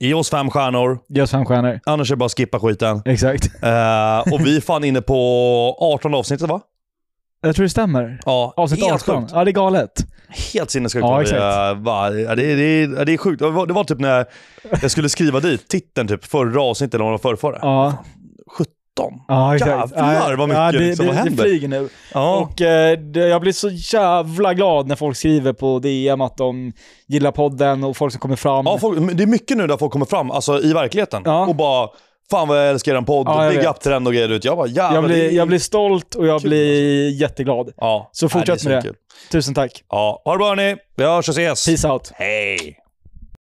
ge oss fem stjärnor.
Ge oss fem stjärnor.
Annars är det bara att skippa skiten.
Exakt.
Eh, och vi är fan inne på 18 avsnittet va?
Jag tror det stämmer.
Ja,
Avsnitt
helt
18.
sjukt.
Ja, det är galet.
Helt sinnessjukt.
Ja,
vad vi,
exakt.
eh, va- ja, det, det, ja, det är sjukt. Det var, det var typ när jag skulle skriva dit titeln typ förra avsnittet eller om det var förrförra.
Ja,
17.
ja exakt.
Jävlar, vad mycket
det,
liksom
det,
har
det
hänt.
flyger nu.
Ja.
Och eh, det, jag blir så jävla glad när folk skriver på DM att de gillar podden och folk som kommer fram.
Ja, folk, men det är mycket nu där folk kommer fram alltså, i verkligheten
Ja.
och bara “Fan vad jag älskar den podd,
Ja, jag
big
vet.
up till den” och grejer. ut. Jag bara “Jävlar”.
jag,
det
blir,
är-
jag blir stolt och jag
Kul, alltså.
blir jätteglad.
Ja.
Så
Nej,
fortsätt
är
med det.
kul.
Tusen tack.
Ja. Ha det bra hörni. Vi hörs och ses.
Peace out.
Hej!